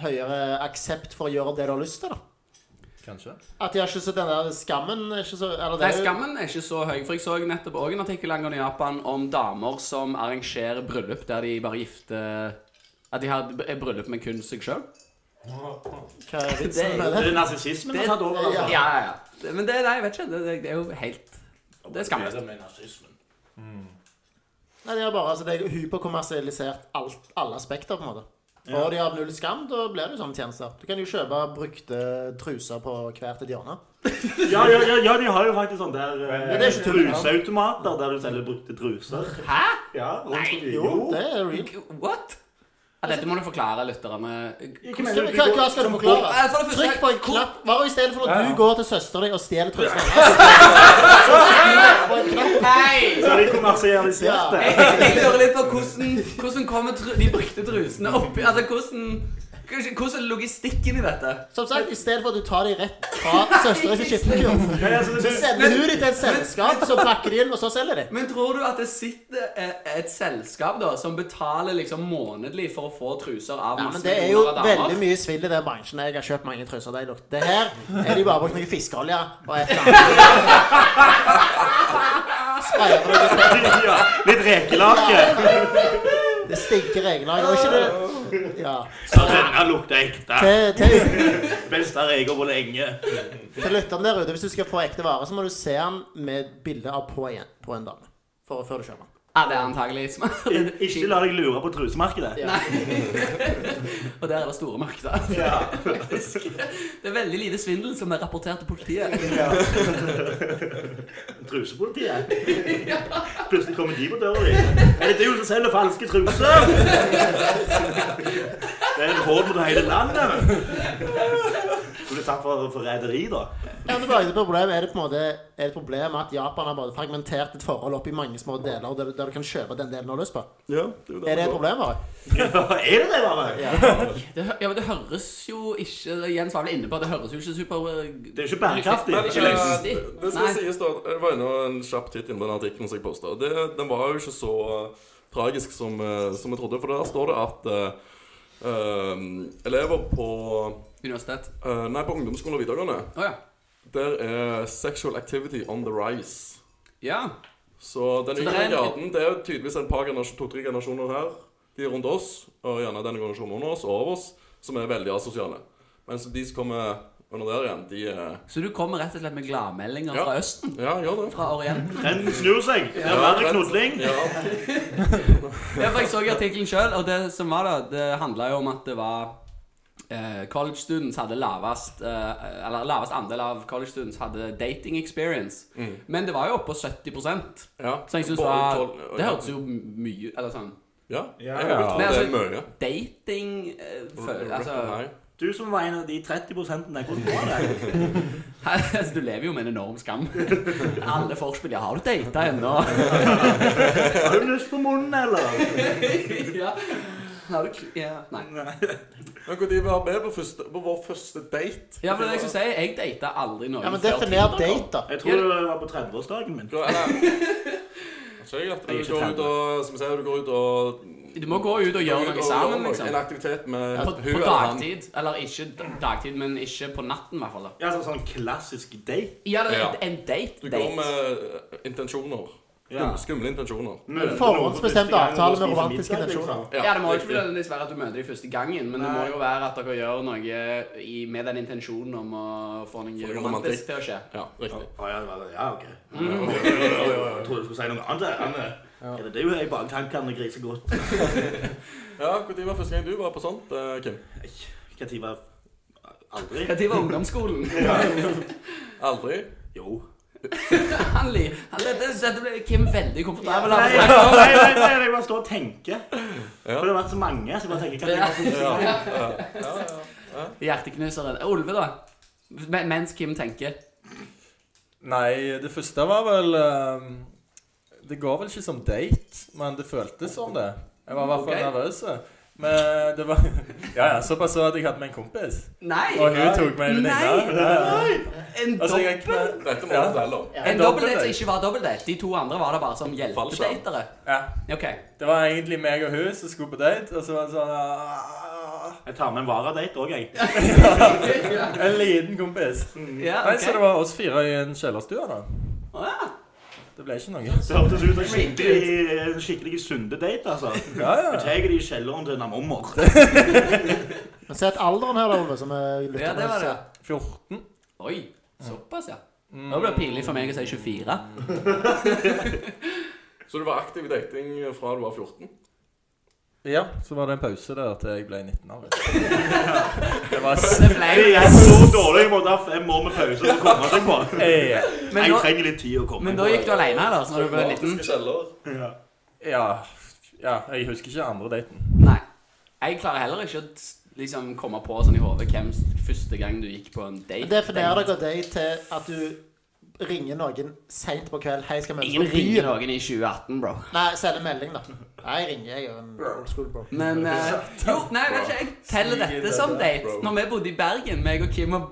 høyere aksept for å gjøre det du har lyst til, da. Kanskje. At de har ikke så den der skammen er ikke så, eller det, Nei, er jo- Skammen er ikke så høy. For jeg så nettopp òg en artikkel angående Japan om damer som arrangerer bryllup der de bare gifter At de har er bryllup med kun seg sjøl. Hva er Det er vitsen jo- med Det det? er narsissismen Det- som har tatt over. Ja, Altså. ja, ja. Det- Men det, nei, jeg vet ikke. Det, det, det er jo helt Det er skamløst. Det med nazismen. Nei, de har bare altså, det er hyperkommersialisert alt, alle aspekter, på en måte. Og de har null skam, da blir det jo sånne tjenester. Du kan jo kjøpe brukte truser på hvert et hjørne. Ja, ja, ja, ja, de har jo faktisk sånn der eh, det er ikke tull. truseautomater der du selger brukte truser. Hæ? Ja, rundt forbi. Jo, det er real. What? Ja, dette må du forklare lytterne. Ikke mener Hva, du- hva- hva skal du forklare? Eh, for det første- Trykk på en hvor- knapp. Hva i stedet for at du går til søsteren din og stjeler trusene hennes? Trykk på en knapp. Hei! Så de kommersialiserte. Jeg, jeg lurer litt på hvordan, hvordan kommer tru, de brukte trusene opp i Altså, hvordan Hvordan er logistikken i dette? Som sagt, i stedet for at du tar dem rett fra søsteren sin skittenkurv, Ja, altså, så det- sender du dem til et selskap, så pakker de inn, og så selger de. Men tror du at det sitter et, et selskap da som betaler liksom månedlig for å få truser av Ja, masse men Det er jo millioner damer? veldig mye svill i den bransjen. Jeg har kjøpt mange truser. Det, lukter. det her er de bare brukt noe fiskeolje og et eller annet. Sprayer på noe sånt. ja, litt rekelake. Det stinker regelag. Og ikke det Ja. Ja, denne lukter ekte. Til, til, Beste reker på lenge. til lytterne der ute, hvis du skal få ekte vare, så må du se den med et bilde av på en, på en dame. For, før du kjøper den. Ja, det er antagelig smart. Ik- Ikke la deg lure på trusemarkedet. Og der er det store markeder. Faktisk. Det er veldig lite svindel som er rapportert til politiet. Trusepolitiet. Plutselig kommer de på døra di. Er det du som selger falske truser? Det er en hån mot hele landet. Du blir tatt for, for rederi, da. Ja, men tilbake til problemet. Er det på en måte er det et problem at Japan har bare fragmentert et forhold opp i mange små deler der, du- der du kan kjøpe den delen du har lyst på? Ja, Er det et problem? Bare? er det det, bare? Det, hø- ja, men det høres jo ikke Jens var vel inne på at det høres jo ikke super eh, Det er jo ikke bærekraftig. Men, Ikke eh, lyst. det det skal Nei. sies da, jeg var inne og en kjapp titt inne på den artikkelen som jeg posta. Den var jo ikke så eh, tragisk som, eh, som jeg trodde, for der står det at eh, eh, elever på Universitet. eh, Nei, på ungdomsskolen og videregående, Å ja. der er sexual activity on the rise. Ja. Så den det er yngre en- garden, det er jo tydeligvis en par generasjon, to-tre generasjoner her, de rundt oss, og gjerne denne generasjonen under oss og over oss, som er veldig asosiale. Mens de som kommer under der igjen, de er Så du kommer rett og slett med gladmeldinger Ja. fra Østen? Ja, gjør det. Fra Orienten? Den snur seg. Det er verre knudling. Ja, Ja, for jeg så i artikkelen sjøl, og det som var da, det handla jo om at det var eh, College students hadde lavest eh, Eller lavest andel av college students hadde dating experience. Mm. Men det var jo oppe på 70 Ja. Så jeg synes det, Både var, tolv- det hørtes jo mye Eller sånn Ja, Ja. jeg vil tro Men det altså- er mye. Dating eh, føl- altså, Nei. Du som var en av de 30 der, hvordan var det? altså, Du lever jo med en enorm skam. Alle forspill Ja, har du data ennå? Har du lyst på munnen, eller? ja. Har du kl- ja. Nei. Men Når var vi på, første, på vår første date? Ja, for det er det jeg skulle si. Jeg data aldri noen Ja, men før Definer Tinder kom. date, da. Jeg tror det var på 30-årsdagen min. Hva- Eller Altså, jeg at Jeg er du ikke går trent. ut og Som jeg sier, du går ut og Du må gå ut og går gjøre ut noe og gjør sammen, noe, liksom. En aktivitet med På, hun på eller han. dagtid. Eller ikke d- dagtid, men ikke på natten, i hvert fall. da. Ja, sånn, sånn klassisk date. Ja, det er Ja. en- en Du går date-date. med eh, intensjoner. Ja. Skum- Skumle intensjoner. Møter Forhåndsbestemt noen for første gang avtale og med spiser romantiske middag, liksom. intensjoner. Ja, Det må ikke riktig. nødvendigvis være at du møter dem første gangen, men det må jo være at dere gjør noe i, med den intensjonen om å få noe noe romantisk romantikk. til å skje. Ja, riktig. Å, ja, det var det. Ja, ok. Jeg trodde du skulle si noe annet. der, Anne. eh, Er det det jo jeg bare kan kan grise godt? Ja, Når var første gang du var på sånt, eh, Kim? Hva tid var Aldri? Når var ungdomsskolen? Aldri? Jo. Han li- han- Dette dette ble Kim veldig komfortabel Nei, av. nei, nei, nei, nei, jeg bare står og tenker. For det har vært så mange. så jeg bare tenker, hva tid var første gang? Hjerteknuseren. Olve, da? Men- Mens Kim tenker. Nei, det første var vel ehm, Det ga vel ikke som date, men det føltes som det. Jeg var i hvert fall Ok. nervøs. Men det var Ja, ja, såpass så at jeg hadde med en kompis. Nei! Og hun tok med en venninne. Nei! Ja, ja. En Altså, jeg dobbel kn- Dette må Ja. du fortelle om. En en dobbeldate dobbeltdate. som ikke var dobbeldate. De to andre var det bare som Fallskjerm. hjelpedatere. Ja, Ok. det var egentlig meg og hun som skulle på date, og så var det sånn ah, Jeg tar med en varadate òg, jeg. En liten kompis. Ja, Mm, Nei, ok. Så det var oss fire i en kjellerstue, da. Å, ja. Det ble ikke noe. Det hørtes ut som en skikkelig, en skikkelig syndedate, altså. Ja, Du ja. tar de i kjelleren til en mormor. Men sett alderen her, da, Ove. Som er ja, det var det. 14. Oi. Såpass, ja. Mm. Nå ble det pinlig for meg å si 24. Så du var aktiv i dating fra du var 14? Ja, så var det en pause der til jeg ble 19 år. Det var s- Det ble Jeg er så dårlig, jeg må ta fem år med pause for å komme seg på. eh, Men Jeg nå, trenger litt tid å komme men meg da på. gikk du alene, da, så når du ble liten? Dramatiske kjeller. Ja. Ja. Ja, jeg husker ikke andre daten. Nei. Jeg klarer heller ikke å t- liksom komme på sånn i hodet hvem s- første gang du gikk på en date. Definerer dere deg til at du ringer noen seint på kveld Hei, skal vi møtes Ingen på ringer byen? noen i 2018, bro. Nei, send en melding, da. Nei, jeg ringer jeg er jo en old school bro. Men eh, Jo, nei, vet ikke. Jeg teller dette som date. Når vi bodde i Bergen, meg og Kim og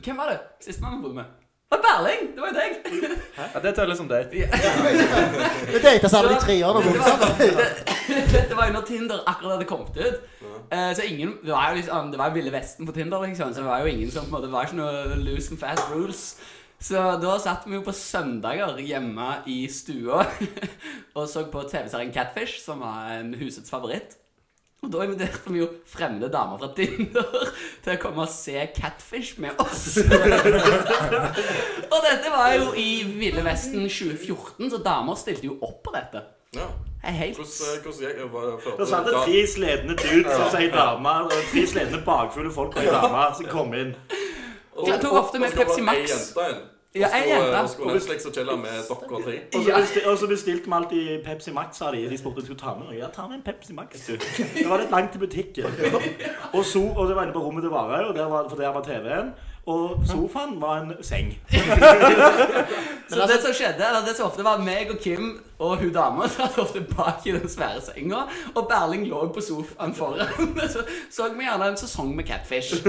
Hvem var det? Sistemann vi bodde med? Det var Berling! Det var jo deg. Ja, det teller som date. Vi data sammen i tre år. da, Det var- bro. Dette var jo når Tinder akkurat hadde kommet ut. Eh, så ingen Det var jo liksom Det var Ville Vesten på Tinder, liksom. Så det var jo ingen som på en måte Det var ikke noe loose and fast rules. Så da satt vi jo på søndager hjemme i stua og så på TV-serien Catfish, som var en husets favoritt. Og da inviterte vi jo fremmede damer fra Tinder til å komme og se Catfish med oss. og dette var jo i Ville Vesten 2014, så damer stilte jo opp på dette. Ja. Det er helt Hvordan, eh, eh, hvordan gikk det? Hva- hva- Da satt det da- tre sledne dudes som sier dame, og tre sledne bakfulle folk og ei dame som kom inn. og- Jeg tok ofte med og- og- Pepsi og- Max. og- og- og- og- Ja, ei og- jente. Og eh, skulle vi slekse kjeller med dere tre? Og så bestilte, og så bestilte vi alltid Pepsi Max, sa de. De spurte om vi skulle ta med noe. Ja, ta med en Pepsi Max, du. Det var litt langt til butikken. Og, so, og det var inne på rommet det var og der var, for der var TV-en. Og sofaen var en seng. Så det som skjedde, eller det som ofte var meg og Kim og hun dama satt ofte bak i den svære senga, og Berling lå på sofaen foran. Så så vi gjerne en sesong med Catfish.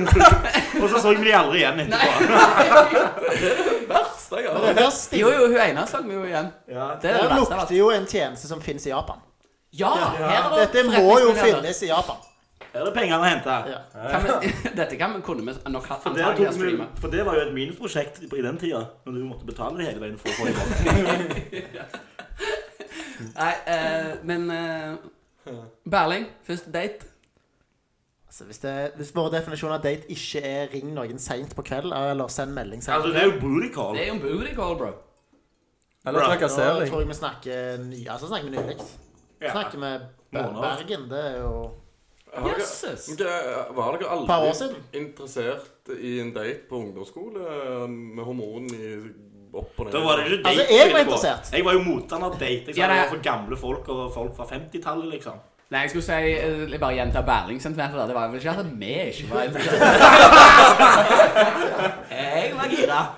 Og så så vi de aldri igjen etterpå. Verst, jeg har. Det der Jo, stinker. jo, hun ene så vi jo igjen. Ja. Det er det Det der verste av lukter alt. jo en tjeneste som finnes i Japan. Ja, her er det altså. Dette må jo forretningsmuligheter. finnes i Japan. Her er det penger å hente. Ja. Kan vi, dette kan vi kunne vi nok ha Der antagelig ha tok vi, streamet. for det var jo et minusprosjekt i den tida, når du måtte betale det hele veien for å få i gang. Nei, eh, men eh, Berling, første date. Altså, hvis, det, hvis vår definisjon av date ikke er ring noen seint på kveld, eh, eller send melding seint Altså, det er jo booty call. Det er jo en booty call, bro. Altså, Eller Da trakassering. tror jeg vi snakker ny, altså snakker vi nylig. Ja. Snakker vi Ber- Måneder. Bergen, det er jo Har dere- Jøsses. Ok, Var dere Par år aldri siden. interessert i en date på ungdomsskole eh, med hormon i opp og ned? Da var det ikke date. Altså, jeg var på. interessert. Jeg var jo motstander av date. Jeg sa Ja, det det- var for gamle folk og folk fra 50-tallet, liksom. Nei, jeg skulle si eh, jeg bare gjenta Berling sentimentet. da. Det var vel ikke at vi ikke var Jeg var gira.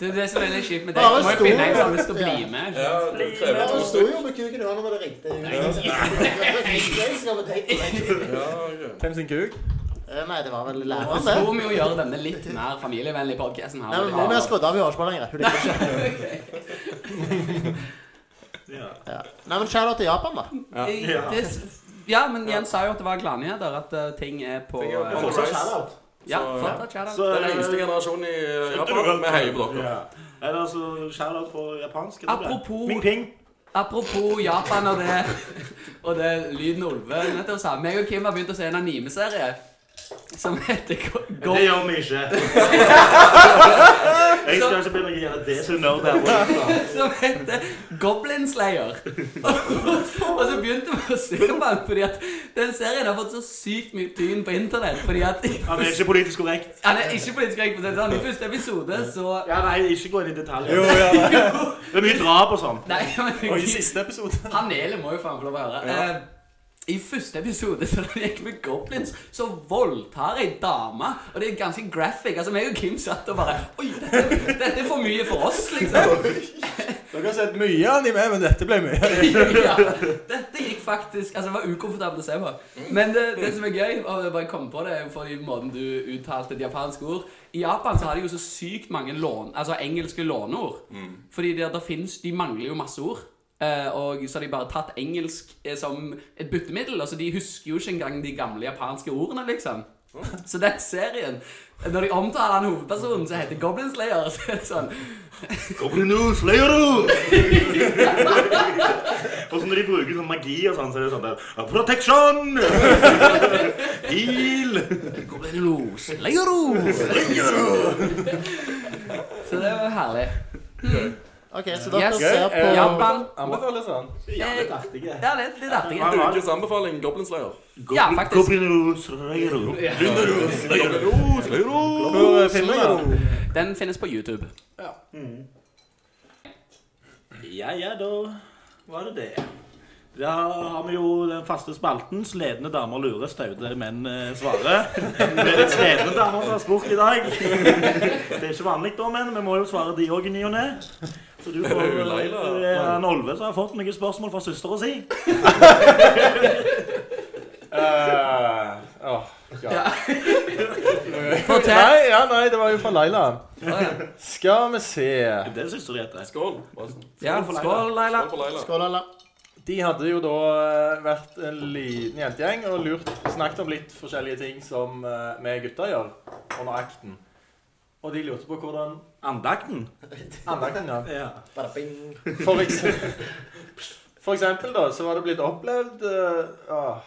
Det er det som er litt kjipt med deg. Bare Du må jo stor, finne en ja. som har lyst til å bli med. ikke sant? Ja, det krever to Det sto stykker. jo med kuken i hånda da det ringte. Jeg skal på date med deg. Ja, ok. Hvem sin kuk? Eh, Nei, det var vel Og læreren, så det. må vi jo gjøre denne litt mer familievennlige podcasten Nei, men her. Mor mi har skrudd av, hun hører ikke på lenger. Hun liker ikke. Ja. Ja. Nei, men kjære til Japan, da. Ja, det s- ja, men Jens sa jo at det var gladnyheter, at eh, ting er på eh, Fortsatt shout-out. Ja, fortsatt skjer Så det. Den yngste generasjonen i Japan, vi heier på dere. Ja. Eller så shout-out på japansk. eller? Apropos- Ming Ping. Apropos Japan og det Og det lyden Olve nettopp sa. Meg og Kim har begynt å se en anime-serie som heter Go- Go Det gjør vi ikke. Jeg skal ikke begynne å gjøre det som nerd her. borte. som heter Goblin Slayer. og så begynte vi å se på den fordi at den serien har fått så sykt mye tyn på internett. Fordi at Han er ikke politisk korrekt. Han er ikke politisk korrekt, men sånn, i første episode så Ja, nei, ikke gå inn i detaljer. Jo, ja. Det er mye drap og sånn. Nei, Og men i siste episode. panelet må jo faen få lov å høre. Eh, I første episode så da jeg gikk med goblins, så voldtar ei dame. Og det er ganske graphic. Altså, meg og Kim satt og bare Oi, dette, dette er for mye for oss, liksom. Dere har sett mye anime, men dette ble mye. ja, dette gikk faktisk Altså, det var ukomfortabelt å se på. Men det, det som er gøy, og jeg bare kom på det for i måten du uttalte et japansk ord I Japan så har de jo så sykt mange lån, altså engelske låneord. Fordi der, der finnes, de mangler jo masse ord. Eh, og så har de bare tatt engelsk eh, som et byttemiddel. Altså, de husker jo ikke engang de gamle japanske ordene, liksom. Så den serien, når de omtaler han hovedpersonen som heter Goblin Slayer, så er det sånn Og så når de bruker sånn magi og sånn, så er det sånn der Protection! Heal! Eh, Goblin Slayer! Så det var herlig. Ok, så dere Yes. ser på Japan Anbefales han. Ja, det er artig. jeg. Ja, litt, litt artig. Ja, ja. Ukens anbefaling, Goblin Slayer. Ja, faktisk. Goblin-rus-røyru. Goblin Slayer. Hvor eh, finner man den? Den finnes på YouTube. Ja, ja, da var det det. Da har vi jo den faste spalten 'Sledne damer lurer, staude menn eh, svarer'. Det er litt sledne damer som har spurt i dag. Det er ikke vanlig, da, men vi må jo svare de òg i ny og ne. Så du får jo Leila. Det er en Olve som har fått noen spørsmål fra søstera si. Eh, åh, ja. Fortell. Nei, ja, nei, det var jo fra Laila. Skal vi se Det er søstera di heter. Skål. Basen. Ja, skål, Leila. Skål for Leila. Skål, alle. De hadde jo da eh, vært en liten jentegjeng og lurt, snakket om litt forskjellige ting som eh, vi gutter gjør under akten. Og de lurte på hvordan Andakten. andre kan gjøre. Ja. Bada bing. For eksempel, for eksempel da, så var det blitt opplevd eh, åh,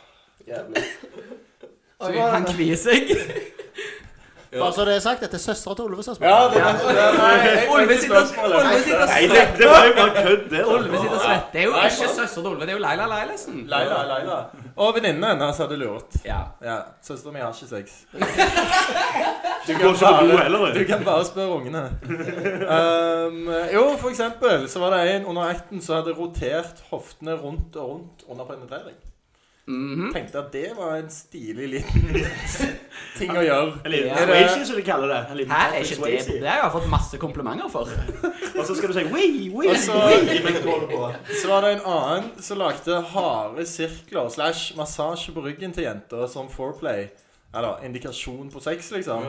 Jævlig. Så han kvier seg. Bare så det er sagt, dette er søstera til Olve som har spurt. Ja, det var det, var- nei, jeg- Olve sitter Olve sitter og Nei, det, svetter. det var jo bare kødd, det. da. Olve sitter og svetter. Det er jo ikke søster til Olve, det er jo Leila Leilesen. Leila, Leila. Og venninnen hennes hadde lurt. Ja. Ja, Søstera mi har ikke sex. Du går ikke på do heller, Du du. kan bare spørre ungene. Um, jo, for eksempel så var det en under akten som hadde rotert hoftene rundt og rundt under penetrering. Mhm. Tenkte at det var en stilig liten ting å gjøre. En liten Ja. Swayze, som de kaller det. En liten Hæ, er Patrick ikke det Swayze. Det har jeg fått masse komplimenter for. Og så skal du si wee, wee, Og så- wee. mens du holder på. Så var det en annen som lagde harde sirkler slash massasje på ryggen til jenter som foreplay. Eller indikasjon på sex, liksom.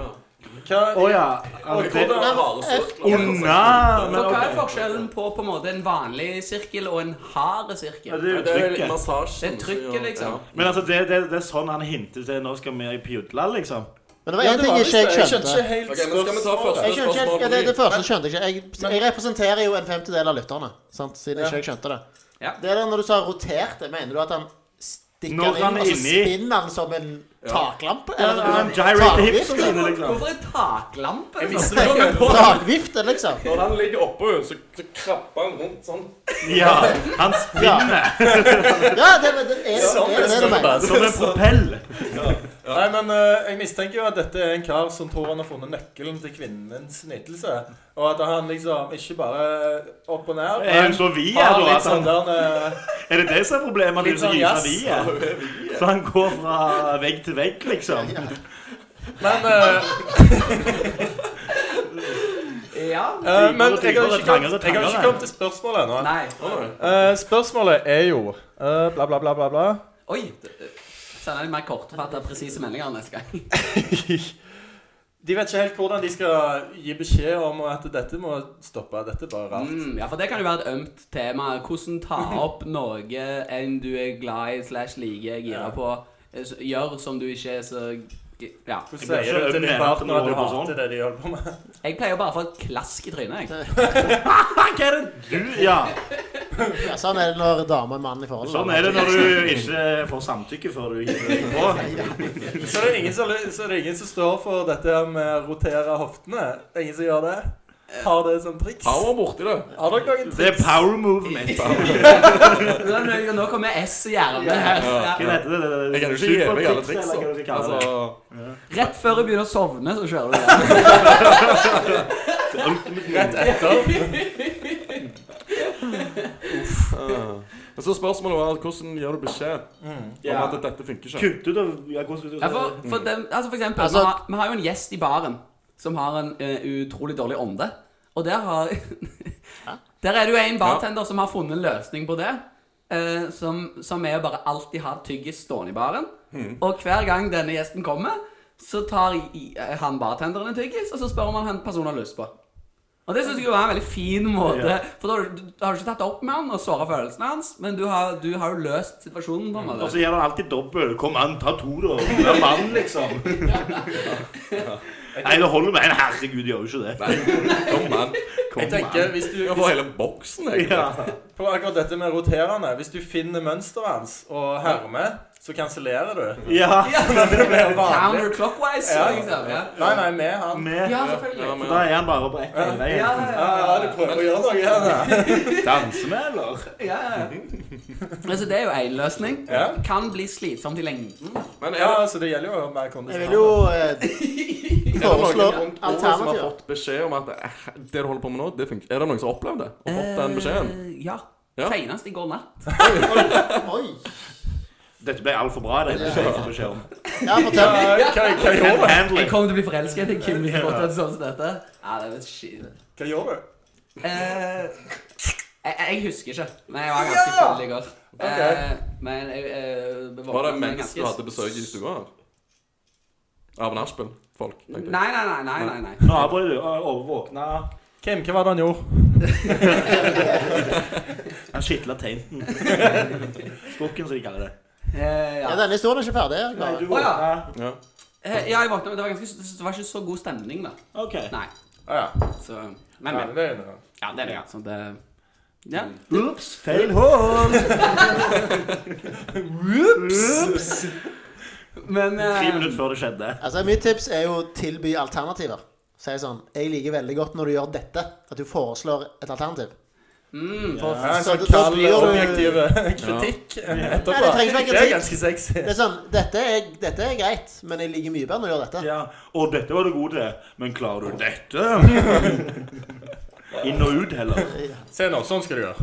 Hva, Å ja. og det- hvordan- Unna! Men For hva ok. er forskjellen på på en måte en vanlig sirkel og en hard Ja, sirkel? det er jo Det er trykket. massasje. Det er trykket, liksom. Men altså, det, det, det er sånn han hinter til nå skal vi pjudle, liksom. Men det var én ting jeg ikke jeg skjønte. ikke helt Ok, men skal vi ta spørsmålet. første Jeg skjønte ikke, spørsmål? ja, det, det første skjønte jeg ikke. Jeg, jeg representerer jo en femtedel av lytterne. Sant? Siden Ja. ikke jeg skjønte det. Ja. Det der når du sa roterte, mener du at han stikker Når inn, han er og så inni- spinner han som en taklampe? Ja, Eller han en gyrate takvift, hipsene eller? sine, liksom. Hvorfor er sånn? taklampe det første? Spørsmål. Takvifte, liksom. Når han ligger oppå, så så krabber han rundt sånn. Ja, han spinner Ja, det, det, det er Sånn det er det du mener. som en propell. Nei, men eh, jeg mistenker jo at dette er en kar som tror han har funnet nøkkelen til kvinnens nytelse. Og at han liksom ikke bare opp og ned. Er hun men så vid, har ja, da? litt At sånn han, der eh, er det det som er problemet? At Litt hun så sånn gyser jazz. vi er? Så han går fra vegg til vegg, liksom? Men, eh, Ja. eh, men jeg har Dypere, jo dypere, ikke trangere, kommet, jeg har ikke trangere. kommet til spørsmålet ennå. Nei. Eh, spørsmålet er jo eh, bla, bla, bla, bla, bla. Oi. eh, Sender de mer kortfattede, presise meldinger neste gang. De vet ikke helt hvordan de skal gi beskjed om at dette må stoppe. Dette er bare rart. Mm, ja, for det kan jo være et ømt tema. Hvordan ta opp noe en du er glad i slash liker, gira Ja. på. eh, s- Gjør som du ikke er så g- Ja. Jeg Hvordan blir sier ikke du til ømhet din når partner at du du holder på sånn. hater det de holder på med? Jeg pleier bare å få et klask i trynet, jeg. Hva er det du Ja, Ja, sånn er det når dame og mann i forhold. sånn er det når du ikke får samtykke før du hiver deg på. Så det, er ingen som, så det er ingen som står for dette her med å rotere hoftene? Det er Ingen som gjør det? Har det som triks? Power borti det. Har dere noen Det er triks? power movement. Nå- Nå nå kommer S i hjernen her. Hva Ja. heter det? det? Jeg kan jo ikke gi meg alle Supertips, eller hva du triksa. kaller Altså, det. Rett før du begynner å sovne, så kjører du den. Rett etter? Men så spørsmålet var hvordan gir du beskjed om Mm. Ja. at dette funker ikke? Kutt ut av ja, hvordan- Ja, for, for, den, altså for eksempel, Altså- vi, har, vi har jo en gjest i baren som har en eh, utrolig dårlig ånde. Og der har Der er det jo en bartender som har funnet en løsning på det. eh, som, som er å bare alltid ha tyggis stående i baren. Og hver gang denne gjesten kommer, så tar i- eh, han bartenderen en tyggis, og så spør om han en person har lyst på. Og det syns jeg jo er en veldig fin måte. For da har du, du har du ikke tatt det opp med han og såra følelsene hans, men du har, du har jo løst situasjonen. på en Og måte så gjør han alltid dobbel. Kom an, ta to, da. Du er mann, liksom. Nei, det holder med en. Herregud, gjør jo ikke det. Kom an. Kom Jeg tenker, hvis du, Jeg får hele boksen, jeg. Ja. på akkurat dette med roterende Hvis du finner mønsteret hans og hermer, så kansellerer du. ja. Det blir vanlig. Counterclockwise. Ja. Liksom. Ja. Nei, nei, med han. Med. ja, Ja, selvfølgelig. men- Da er han bare på ett hele veien. Ja, ja, ja. Ja, du prøver å gjøre noe her. da. Danser vi, eller? Ja, ja. Altså, det er jo én løsning. Ja. Kan bli slitsomt i lengden. Men er Ja, det, altså, det gjelder jo å være mer Jeg kondisjonal. vil jo eh, er det noen foreslå rundt bordet som har alternativer. fått beskjed om at eh, det du holder på med nå, det funker? Er det noen som har opplevd det? Og fått den beskjeden? Eh, ja. Ja. Senest i går natt. Oi. Dette ble altfor bra. Det er ikke beskjed om. Ja, fortell. Ja, Hva, hva, gjør du? Jeg Handling. kommer til å bli forelsket i Kim hvis jeg fortsetter sånn som dette. Ja, det er skit. Hva gjør du? Eh, jeg, jeg husker ikke, men jeg var ganske full i går. Eh, men jeg, eh, Var det våknet mens ganske- du hadde besøk i stua? her? Av nachspiel-folk? tenkte jeg. Nei, nei, nei. nei, nei, nei. Nå avbryter du. Overvåkna. Kim, hva var det han gjorde? Han skitla teinten. Spukken, som de kaller det. Eh, ja. Ja, denne historien er ikke ferdig. Kari. Å, ja. Ja. Eh, ja, jeg våkna, men det var, ganske, det var ikke så god stemning, da. OK. Nei. Ah, ja. Så, men, ja, men. det er jo noe. Ja, det er det. Ja. Så det ja. Mm. Ops, feil hånd. Men Tre eh, minutter før det skjedde. Altså, Mitt tips er jo å tilby alternativer. Si sånn Jeg liker veldig godt når du gjør dette, at du foreslår et alternativ. For- Ja, en så sånn da- da kald, blir du- objektiv eh, kritikk etterpå. Nei, det trenger ikke være Det er kritikk. ganske sexy. Det er sånn Dette er, dette er greit, men jeg liker mye bedre når du gjør dette. Ja. Og dette var du god til, men klarer du dette? Inn og ut, heller. Se nå, sånn skal du gjøre.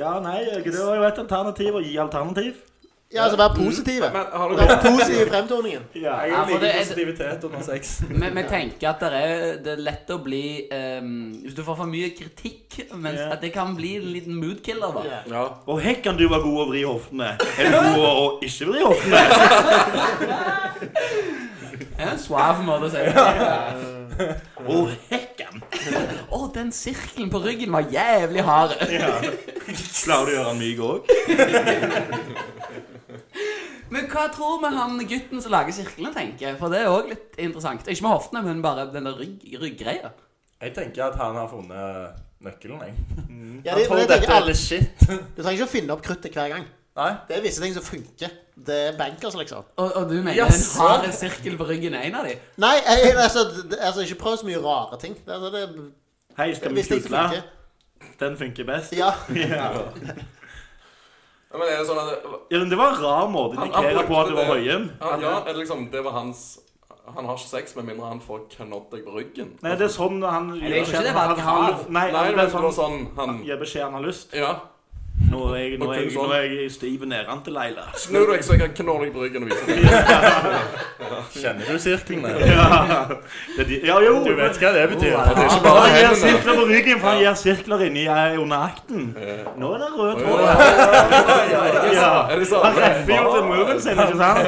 Ja, nei, det var jo et alternativ å gi alternativ. Ja, altså Vær positive. Men har du Den positive fremtoningen. Ja. Ja, Jeg for liker det er- positivitet under sex. vi, Eh, vi tenker at det er, det er lett å bli ehm, Hvis du får for mye kritikk, mens Ja. at det kan bli en liten moodkiller, da. Ja. Og hekken du var god å vri hoftene. Er du god å ikke vri hoftene? Det er en suav måte å si det på. Og hekken! Å, den sirkelen på ryggen var jævlig hard. Klarer du å gjøre den myk òg? Men hva tror vi han gutten som lager sirklene, tenker? For det er òg litt interessant. Ikke med hoftene, men bare den der rygg, rygggreia. Jeg tenker at han har funnet nøkkelen, jeg. Ja, Han det, men tror jeg tenker dette er alle, litt shit. du trenger ikke å finne opp kruttet hver gang. Nei? Det er visse ting som funker. Det er bankers, liksom. Og, og du mener Jaså. en hard sirkel på ryggen er en av de? Nei, jeg, altså, det- altså ikke prøv så mye rare ting. Det, altså, det, Hei, skal vi hvis det ikke kjusle? funker. Den funker best. Ja. Ja, Men er det sånn at det, Ja, men Det var en rar måte å Han- han indikere på at du var brukte det- høyen. han, Ja, er det liksom Det var hans Han har ikke sex med mindre han får knådd deg på ryggen. Nei, det er sånn han gjør ikke det var han- et han- krav. Nei, Nei, han- det men er det var sånn sånn han Gir beskjed han har lyst. Ja. Nå er jeg, nå er jeg, nå er jeg stiv i neven til Leila. Snu deg, så jeg kan knå deg på ryggen og vise deg. Kjenner du sirklene? Ja, Det er de- ja jo. Du vet hva det betyr. Det er ikke bare Han gir hendene. sirkler på ryggen, for han gir sirkler inni eh, under akten. Nå er det rød tråd. Ja. Er det sånn? Han treffer jo til muren sin, ikke sant?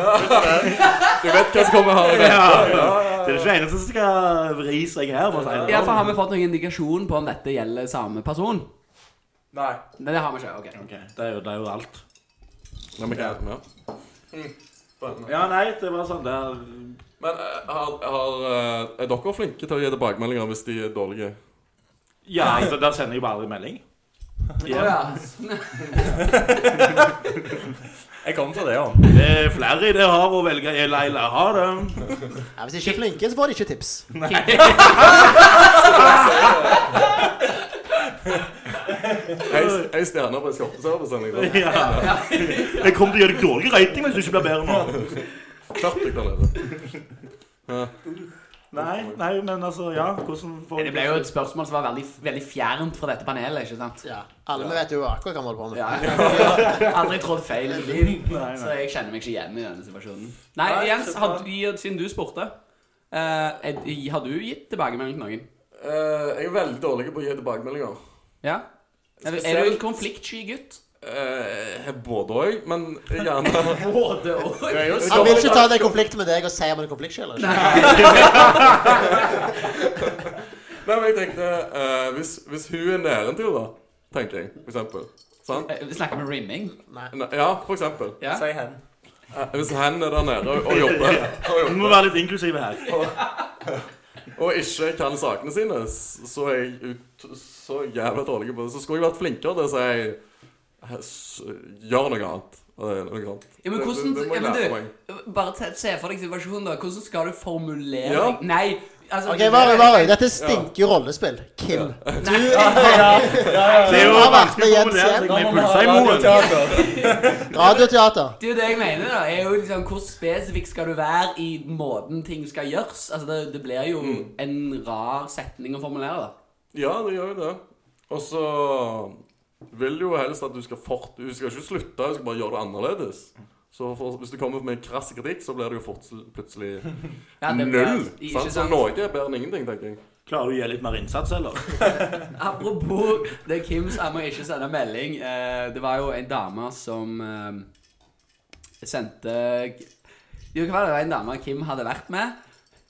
Du vet hva som kommer her i dag. Ja. Det er ikke den eneste som skal vri seg her. For å si det Ja, for sånn. Har vi fått noen indikasjon på om dette gjelder samme person? Nei. Nei, det har vi ikke. ok. Ok, Det er jo, det er jo alt. Nei, men, hva- ja. Ja, nei, det var sånn der men eh, har, har, eh, er dere flinke til å gi tilbakemeldinger hvis de er dårlige? Ja, altså, der sender jeg bare aldri melding. Å, Ja. ja. Sånn, Jeg kommer fra det, ja. Det er flere i det havet å velge i Leila. Ha det. ja, Hvis de ikke er flinke, så får de ikke tips. Jeg, jeg stjerner på eskorteservicen. Liksom. Ja. Jeg kommer til å gjøre deg dårlig rating hvis du ikke blir bedre nå. Klart jeg kan det. Nei, nei, men altså, ja. Hvordan får Det ble jo et spørsmål som var veldig, veldig fjernt fra dette panelet. ikke sant? Ja. Alle vi vet jo akkurat hva vi holder på med. Ja, jeg har aldri trådt feil i mitt liv, nei. så jeg kjenner meg ikke igjen i denne situasjonen. Nei, Nei, Jens, så har bra. du, siden du spurte eh, er- Har du gitt tilbakemelding til noen? Eh, jeg er veldig dårlig på å gi tilbakemeldinger. Ja. Er, er du en konfliktsky gutt? Eh, både òg, men gjerne Både og. Han vil ikke ta den konflikten med deg og si om en konflikt skjer eller ikke. Nei, men jeg tenkte eh, hvis, hvis hun er nedentil, da, tenker jeg, for eksempel. Sant? Eh, Vi snakker med rimming. Ne- Ja, for eksempel. Ja. Si hen. Eh, Hvis hen er der nede og, og jobber, og, Vi jobber, må være litt inklusive her. og ikke kan sakene sine, s- så er jeg ut, så jævla dårlig på det. Så skulle jeg vært flinkere til å si eh, s- Gjør noe annet. Eh, Noe annet. Ja, men Det- hvordan, det, det må ja, jeg men lære meg. du, bare se, se for deg situasjonen, da. Hvordan skal du formulere Ja. deg? Nei, altså Ok, Varøy, Varøy, dette stinker jo rollespill. Kim. Det er jo har vært vanskelig å igjen formulere seg sent. med pulser i moen. radioteater. Radioteater. Det er jo det jeg mener, da. er jo liksom Hvor spesifikk skal du være i måten ting skal gjøres? Altså, Det, det blir jo Mm. en rar setning å formulere, da. Ja, det gjør jo det. Og så vil du jo helst at du skal fort Du skal ikke slutte, du skal bare gjøre det annerledes. Så for, hvis du kommer med en krass kritikk, så blir det jo fort, plutselig Ja, det blir- null. ikke Sant? Så sant? noe er bedre enn ingenting, tenker jeg. Klarer du å gi litt mer innsats, eller? Apropos det er Kims Jeg må ikke sende melding Eh, Det var jo en dame som eh, Sendte Jo, hva var det? det var en dame Kim hadde vært med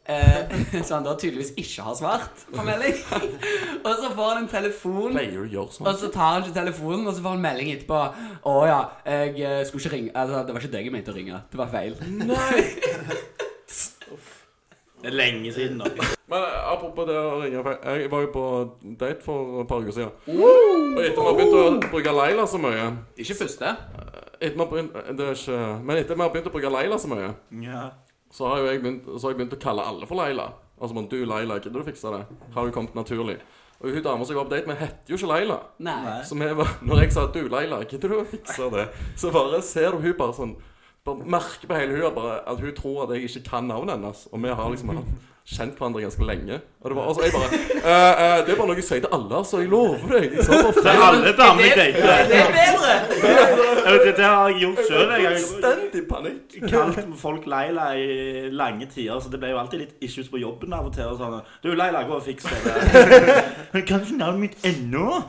eh, Som han da tydeligvis ikke har svart På melding Og så får han en telefon Pleier du å gjøre sånn? og så tar han ikke telefonen, og så får han melding etterpå. 'Å ja, jeg eh, skulle ikke ringe altså, Det var ikke deg jeg mente å ringe. Det var feil.' Det er lenge siden, da. Men eh, apropos det å ringe feil Jeg var jo på date for et par uker siden. Og etter vi har begynt å bruke Leila så mye Ikke første. etter vi har begynt, eh, det er ikke, Men etter vi har begynt å bruke Leila så mye, Ja. så har jo jeg begynt, så har jeg begynt å kalle alle for Leila. Altså men du, Leila, gidder du fikse det? Har jo kommet naturlig. Og hun dama som jeg var på date med, heter jo ikke Leila. Nei. Så vi var, når jeg sa 'du, Leila, gidder du å fikse det', så bare ser du hun bare sånn bare merker på hele hun bare at hun tror at jeg ikke kan navnet hennes. Og vi har liksom hatt kjent hverandre ganske lenge. Og det var altså, jeg bare «Eh, eh, Det er bare noe jeg sier til alle, altså. Jeg lover deg. Så Det er forferdelig alle damene jeg det, dater. det er bedre! Dette har jeg gjort sjøl. Jeg har fullstendig panikk. kalt folk Leila i lange tider, så det ble jo alltid litt issues på jobben av og til. og sånn. Du, Leila, gå og fiks det. Men kan ikke navnet mitt ennå?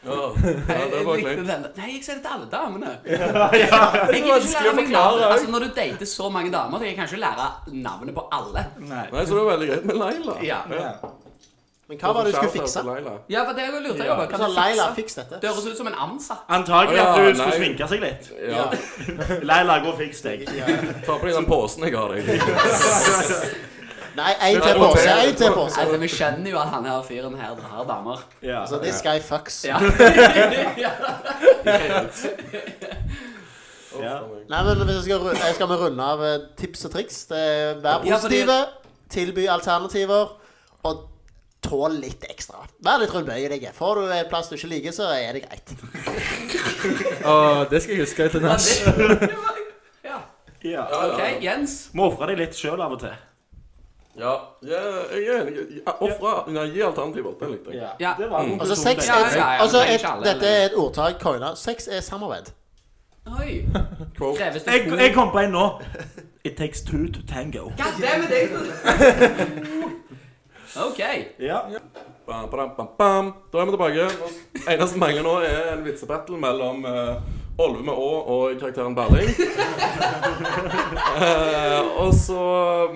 Ja, ja det var Jeg likte kleint. den. Nei, jeg sier det til alle damene. Jeg gidder ikke lære meg navn. Altså, når du dater så mange damer, jeg kan ikke lære navnet på alle. Nei. Nei, så det var veldig greit med Leila. Ja, Men hva var det du skulle fikse? Leila. ja for det har jeg lurt jeg på. Du sa Kan du Leila, fikse? fiks dette. Det høres ut som en ansatt. Antagelig at Å, ja, du skulle nei. sminke seg litt. Ja. Leila, gå og fiks deg. Ta på deg den posen jeg har deg. Nei, en til pose, en til pose. Altså, Vi skjønner jo at han her fyren her har damer. Ja. Altså, this guy fucks. Ja. ja. Ja. Nei, men hvis jeg skal, ru- jeg skal vi runde av eh, tips og triks. Det er Vær Ja, fordi- positive, tilby alternativer, og tål litt ekstra. Vær litt rundbøyelig. Får du en plass du ikke liker, så er det greit. Å, det skal jeg huske til Ja, neste. det- ja. Ja. OK, Jens. Må ofre deg litt sjøl av og til. Ja, jeg jeg er enig. Ofre Nei, gi alternativer. Den likte jeg. Ja. Det var Altså, sex Ja, er, ja, ja, altså men trenger et, ikke alle, dette er et ordtak coina. Sex er samarbeid. Oi. Quote. Kreves det jeg, to jeg kom på en nå. It takes two to tango. God damn it, jeg OK. Ja. Bam, bam, bam, bam. Da er vi tilbake. Nå- Eneste som mangler nå, er en vitsebattle mellom eh, Olve med Å og karakteren Berling. Eh, og så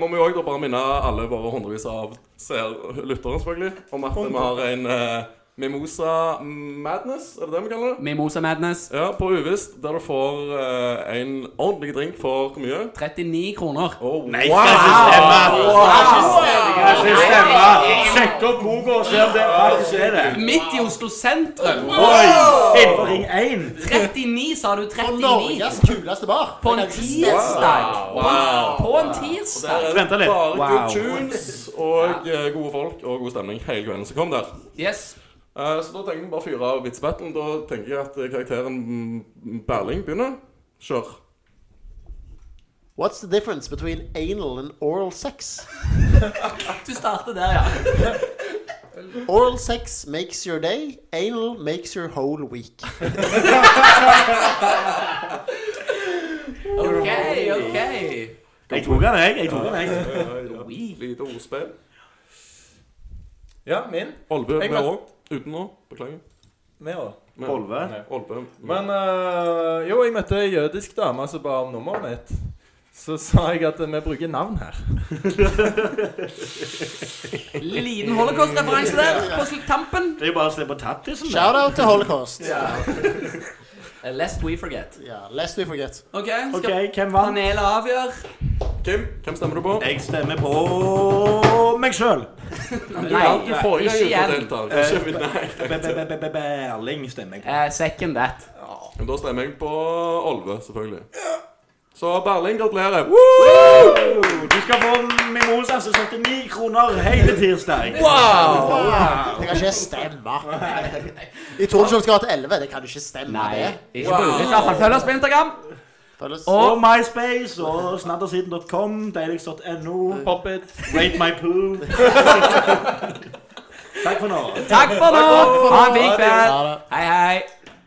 må vi jo òg bare minne alle våre hundrevis av seer- lyttere selvfølgelig, om at vi har en eh, Mimosa Madness, er det det vi kaller det? Mimosa Madness. Ja, på Uvisst, der du får eh, en ordentlig drink for hvor mye? 39 kroner. Oh, Nei, wow! Ikke stemme! Ikke stemme! Sjekk opp boka og se om det faktisk er det. Midt i Oslo sentrum. Oi! Innenfor ring 1. 39, sa du? Og 39? Norges kuleste bar. På en Det kan ikke tirsdag? Wow. På en tirsdag? Der er Vent det litt. bare Wow. good tunes og eh, gode folk og god stemning hele kvelden. Så kom der. Yes. Eh, Så da tenker vi bare å fyre av vitsbattlen. Da tenker jeg at eh, karakteren mm, Berling begynner. Kjør. stemme. What's the difference between anal and oral sex? Du starter der, ja. Oral sex makes your day. Anal makes your whole week. OK, OK. Jeg tok den, jeg. jeg, tok den, jeg. Lite ordspill. Ja, min. Olve Jeg med møtte- Å. Uten Å. Beklager. Med å Men- Olve. Nei. Olve. Men eh, jo, jeg møtte ei jødisk dame som ba om nummeret mitt. Så sa jeg at eh, vi bruker navn her. Liten holocaust-referanse der på sl- tampen. Det er jo bare å se på tattisen. da. Shout-out til Holocaust. Eh, Lest we forget. Ja, Lest we forget. OK, skal OK, hvem vant? panelet avgjøre? Kim, hvem stemmer du på? Jeg stemmer på meg sjøl. Du vant jo forrige ikke gang igjen. uten å delta. Ikke vi- Nei. Berling stemmer jeg på. Eh, second that. Men da stemmer jeg på Olve, selvfølgelig. Så Berling, gratulerer. Woo! Du skal få mimosa til 79 kroner hele tirsdag. Wow! Det kan ikke stemme. I Torshov skal ha til 11. Det kan jo ikke stemme, Nei, det. ikke wow. i hvert fall følg oss på Instagram. Føles- Og MySpace og snaddersiden.com, deiligst.no, Pop it. Rate my poo. Takk for nå. Takk for nå. Ha en fin kveld. Ha det. Hei, hei.